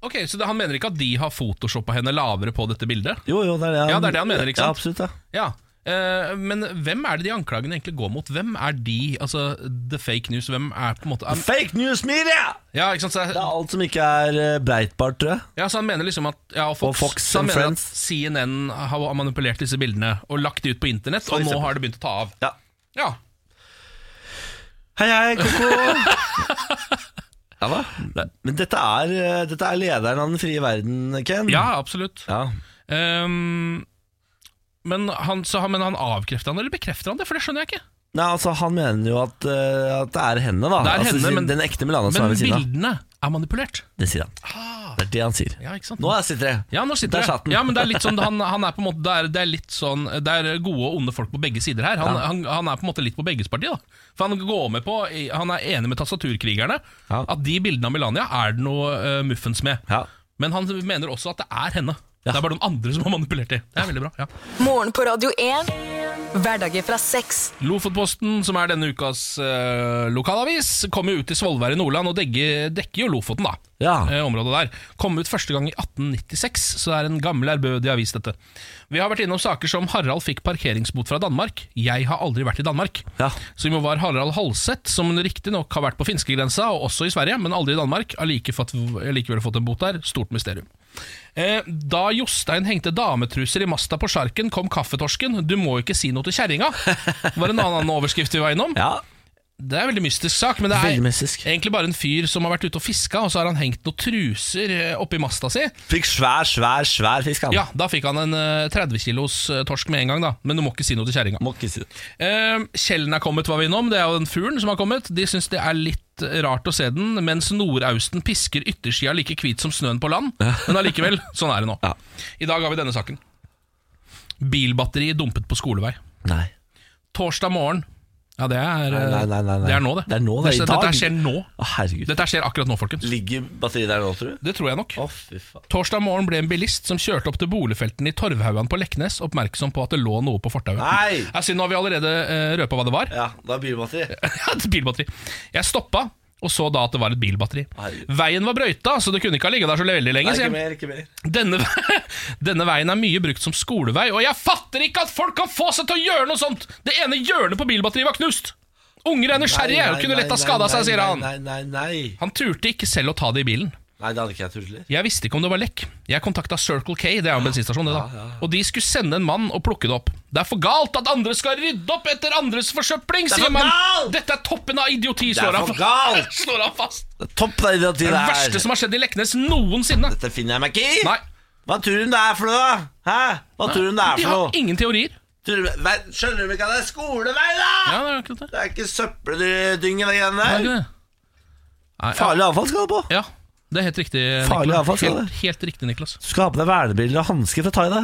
S2: ok, så det, han mener ikke at de har photoshoppa henne lavere på dette bildet?
S1: Jo, jo, det er det han,
S2: Ja, det er det han mener, ikke
S1: Ja,
S2: sant?
S1: absolutt ja
S2: Ja eh, men hvem er det de anklagene egentlig går mot? Hvem er de, altså the fake news? Hvem er på en måte
S1: Fake news media!
S2: Ja, ikke sant? Så,
S1: Det er alt som ikke er eh, Breitbart, tror jeg.
S2: Ja, så han mener liksom at ja, og Fox,
S1: Og Fox
S2: så han
S1: and
S2: mener
S1: Friends.
S2: at CNN har manipulert disse bildene og lagt de ut på internett, og nå
S1: eksempel.
S2: har det begynt å ta av.
S1: Ja.
S2: Ja,
S1: Hei, hei, ko-ko! <laughs> ja da. Men dette er, eh, dette er lederen av den frie verden, Ken.
S2: ja absolutt.
S1: Ja.
S2: Ehm, men, han, så han, men han avkrefter han, eller bekrefter han det? For det skjønner jeg ikke.
S1: Nei, altså, han mener jo at, eh, at det er henne, da.
S2: Det er
S1: altså,
S2: henne,
S1: sin-
S2: men-
S1: Den ekte Melania som
S2: Men Ah.
S1: er ved siden av.
S2: bildene er manipulert.
S1: Det sier han. Det er det han sier.
S2: Ja, ikke sant?
S1: Nå sitter jeg.
S2: ja, nå sitter
S1: Der
S2: jeg.
S1: satt den.
S2: Ja, men det er litt sånn, han, han er på en måte, det er, det er litt sånn Det er gode og onde folk på begge sider her. Han, han, han er på en måte litt på begges parti. da For Han går med på Han er enig med tastaturkrigerne
S1: Ja.
S2: at de bildene av Melania er det noe eh, muffens med.
S1: Ja.
S2: Men han mener også at det er henne. Det er bare noen andre som har manipulert det. Det er veldig bra, ja.
S3: Morgen på Radio 1. Hverdager fra seks.
S2: Lofotposten, som er denne ukas eh, lokalavis, kom jo ut i Svolvær i Nordland og dekker, dekker jo Lofoten, da.
S1: Ja.
S2: Eh, området der. Kom ut første gang i 1896, så det er en gammel ærbødig avis, dette. Vi har vært innom saker som Harald fikk parkeringsbot fra Danmark. Jeg har aldri vært i Danmark.
S1: Ja.
S2: Som jo var Harald Halseth, som riktignok har vært på finskegrensa, og også i Sverige, men aldri i Danmark. Har like fått, likevel fått en bot der. Stort mysterium. Eh, Da Jostein hengte dametruser i masta på sjarken, kom kaffetorsken. Du må ikke si noe til kjerringa, var en annen overskrift vi var innom.
S1: ja.
S2: Det er en veldig mystisk sak, men det er
S1: Veldig mystisk.
S2: egentlig bare en fyr som har vært ute og fiska, og så har han hengt noen truser eh, oppi masta si.
S1: Fikk svær, svær, svær fisk, han.
S2: Ja, Da fikk han en eh, 30 kilos eh, torsk med en gang, da. Men du må ikke si noe til kjerringa.
S1: Må ikke si det.
S2: Eh, Kjellen er kommet, var vi innom. Det er jo den fuglen som har kommet. De syns det er litt eh, rart å se den, mens nordausten pisker yttersida like hvit som snøen på land. Men allikevel, sånn er det nå.
S1: Ja.
S2: I dag har vi denne saken. Bilbatteri dumpet på skolevei.
S1: Nei.
S2: Torsdag morgen. Ja, det er, eh,
S1: Nei, nei, nei, nei.
S2: Det er nå, det.
S1: Det er nå, det er i
S2: Dette-
S1: dag.
S2: Dette skjer nå.
S1: Å, herregud.
S2: Dette skjer akkurat nå, folkens.
S1: Ligger batteriet der nå, tror du?
S2: Det tror jeg nok.
S1: Å, fy faen.
S2: Torsdag morgen ble en bilist som kjørte opp til boligfeltene i Torvhaugan på Leknes, oppmerksom på at det lå noe på fortauet.
S1: Nei!
S2: Ja, Siden nå har vi allerede uh, røpa hva det var. <laughs>
S1: Ja, det er bilbatteri.
S2: Et bilbatteri. Jeg stoppa og så da at det var et bilbatteri.
S1: Herregud.
S2: Veien var brøyta, så det kunne ikke ha ligget der så veldig lenge.
S1: Nei,
S2: sier
S1: ikke
S2: jeg.
S1: mer, ikke mer.
S2: Denne, ve- <laughs> denne veien er mye brukt som skolevei, og jeg fatter ikke at folk kan få seg til å gjøre noe sånt! Det ene hjørnet på bilbatteriet var knust! Unger er nysgjerrige og kunne lett ha skada seg, sier han.
S1: Nei, nei, nei. Nei,
S2: Han turte ikke selv å ta det i bilen.
S1: nei det hadde ikke jeg turt heller.
S2: Jeg visste ikke om det var lekk. Jeg kontakta Circle K,
S1: Ah,
S2: det er jo en bensinstasjon, det da. Og de skulle sende en mann og plukke det opp. Det er for galt at andre skal rydde opp etter andres forsøpling,
S1: er
S2: sier
S1: for
S2: man.
S1: galt!
S2: Dette er toppen av idioti,
S1: er
S2: slår han,
S1: for
S2: <laughs> fa-
S1: galt!
S2: slår han fast.
S1: Det er Topp det idioti
S2: Det er det
S1: der.
S2: verste som har skjedd i Leknes noensinne.
S1: Dette finner jeg meg ikke i.
S2: Nei.
S1: Hva tror hun det er for noe, da? Hæ? Hva tror hun det er
S2: De
S1: for
S2: har
S1: noe?
S2: ingen teorier.
S1: Tror du- Vei- Skjønner du ikke at det er skolevei, da?
S2: Ja, det er akkurat det.
S1: Det er ikke søppeldynge, det greiene
S2: Det er
S1: der.
S2: ikke det. Nei, ja.
S1: Farlig avfall skal du på.
S2: ja, det er helt riktig.
S1: Farlig
S2: Niklas.
S1: avfall, skal
S2: helt, helt riktig, Niklas.
S1: Du skal ha på deg vernebriller og hansker for å ta i det.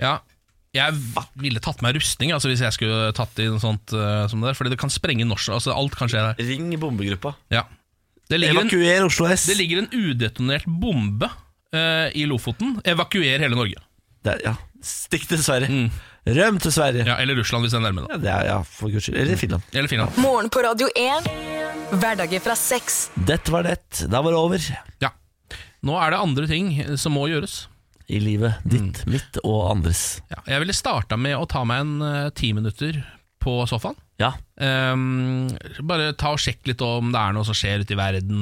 S2: Ja. Jeg ville tatt meg rustning altså, hvis jeg skulle tatt i noe sånt eh, som det der, fordi det kan sprenge norsk Altså, alt kan skje der.
S1: Ring bombegruppa.
S2: Ja. Det ligger en
S1: Evakuer Oslo S.
S2: Det ligger en udetonert bombe eh, i Lofoten. Evakuer hele Norge.
S1: Der, ja. Stikk til Sverige.
S2: Mm.
S1: Røm til Sverige. Ja.
S2: Ja, Eller Russland, hvis det er nærme. da
S1: det er, ja, for guds skyld. Eller Finland.
S2: Eller Finland.
S3: Morgen på Radio 1. Hverdager fra seks.
S1: Dette var det. Da var det over.
S2: Ja. Nå er det andre ting eh, som må gjøres.
S1: I livet
S2: Mm.
S1: ditt, mitt og andres.
S2: Ja, jeg ville starta med å ta meg en eh, ti minutter på sofaen.
S1: Ja.
S2: Ehm, bare ta og sjekk litt om det er noe som skjer ute i verden.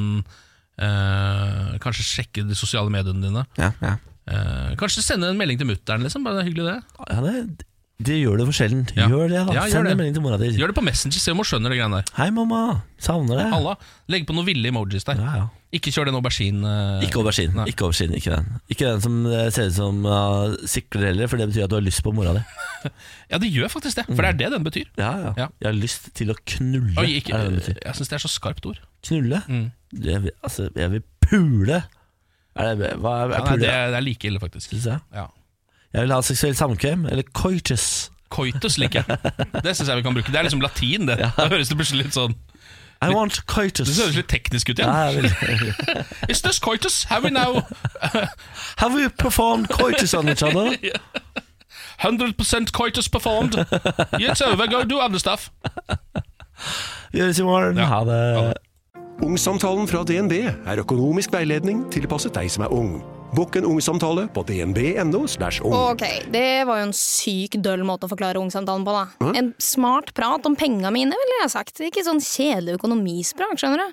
S2: Eh, kanskje sjekke de sosiale mediene dine.
S1: Ja, ja.
S2: Eh, kanskje sende en melding til mutter'n, liksom. Bare det er hyggelig, det.
S1: ja det, det gjør det for sjelden.
S2: Ja.
S1: Gjør det, da.
S2: Ja, gjør
S1: Send
S2: det.
S1: en melding til mora di.
S2: Gjør det på Messenger, se om hun skjønner det greiene der.
S1: Hei, mamma. Savner deg.
S2: Halla, Legg på noen ville emojis der.
S1: Ja, ja.
S2: Ikke kjør den aubergine. eh,
S1: Ikke aubergine.
S2: Nei.
S1: Ikke aubergine, ikke den. Ikke den som eh, ser ut som uh, sikler heller, for det betyr at du har lyst på mora di.
S2: Ja, det gjør faktisk det, for det er det den betyr.
S1: Ja, ja.
S2: Ja.
S1: Jeg har lyst til å knulle.
S2: Oi, ikke, Mm.
S1: er det det betyr.
S2: jeg syns det er så skarpt ord.
S1: Knulle? Jeg, vil, altså, jeg vil pule. Er det, hva er, er
S2: Ja, nei,
S1: pule?
S2: det, er- det er like ille, faktisk.
S1: Synes jeg.
S2: Ja.
S1: jeg vil ha seksuelt samkvem, eller coitus.
S2: Coitus liker jeg. Det syns jeg vi kan bruke. Det er liksom
S1: <laughs>
S2: latin, det. Da høres det plutselig litt sånn
S1: I want coitus.
S2: Det høres litt teknisk ut
S1: Ja,
S2: igjen.
S1: jeg vil.
S2: Is this coitus? Have we now
S1: Have we performed coitus on each
S2: <laughs>
S1: other?
S2: 100 coitus performed? It's over, go do other stuff.
S1: Vi gjøres i morgen.
S2: Ja.
S1: Ha det.
S2: Ha det.
S7: Ungsamtalen fra DNB er økonomisk veiledning tilpasset deg som er ung. Bokk en ungsamtale på dnb.no. slash ung.
S8: Ok, det var jo en syk døll måte å forklare ungsamtalen på, da. En smart prat om penga mine, ville jeg ha sagt. Ikke sånn kjedelig økonomisprat, skjønner du.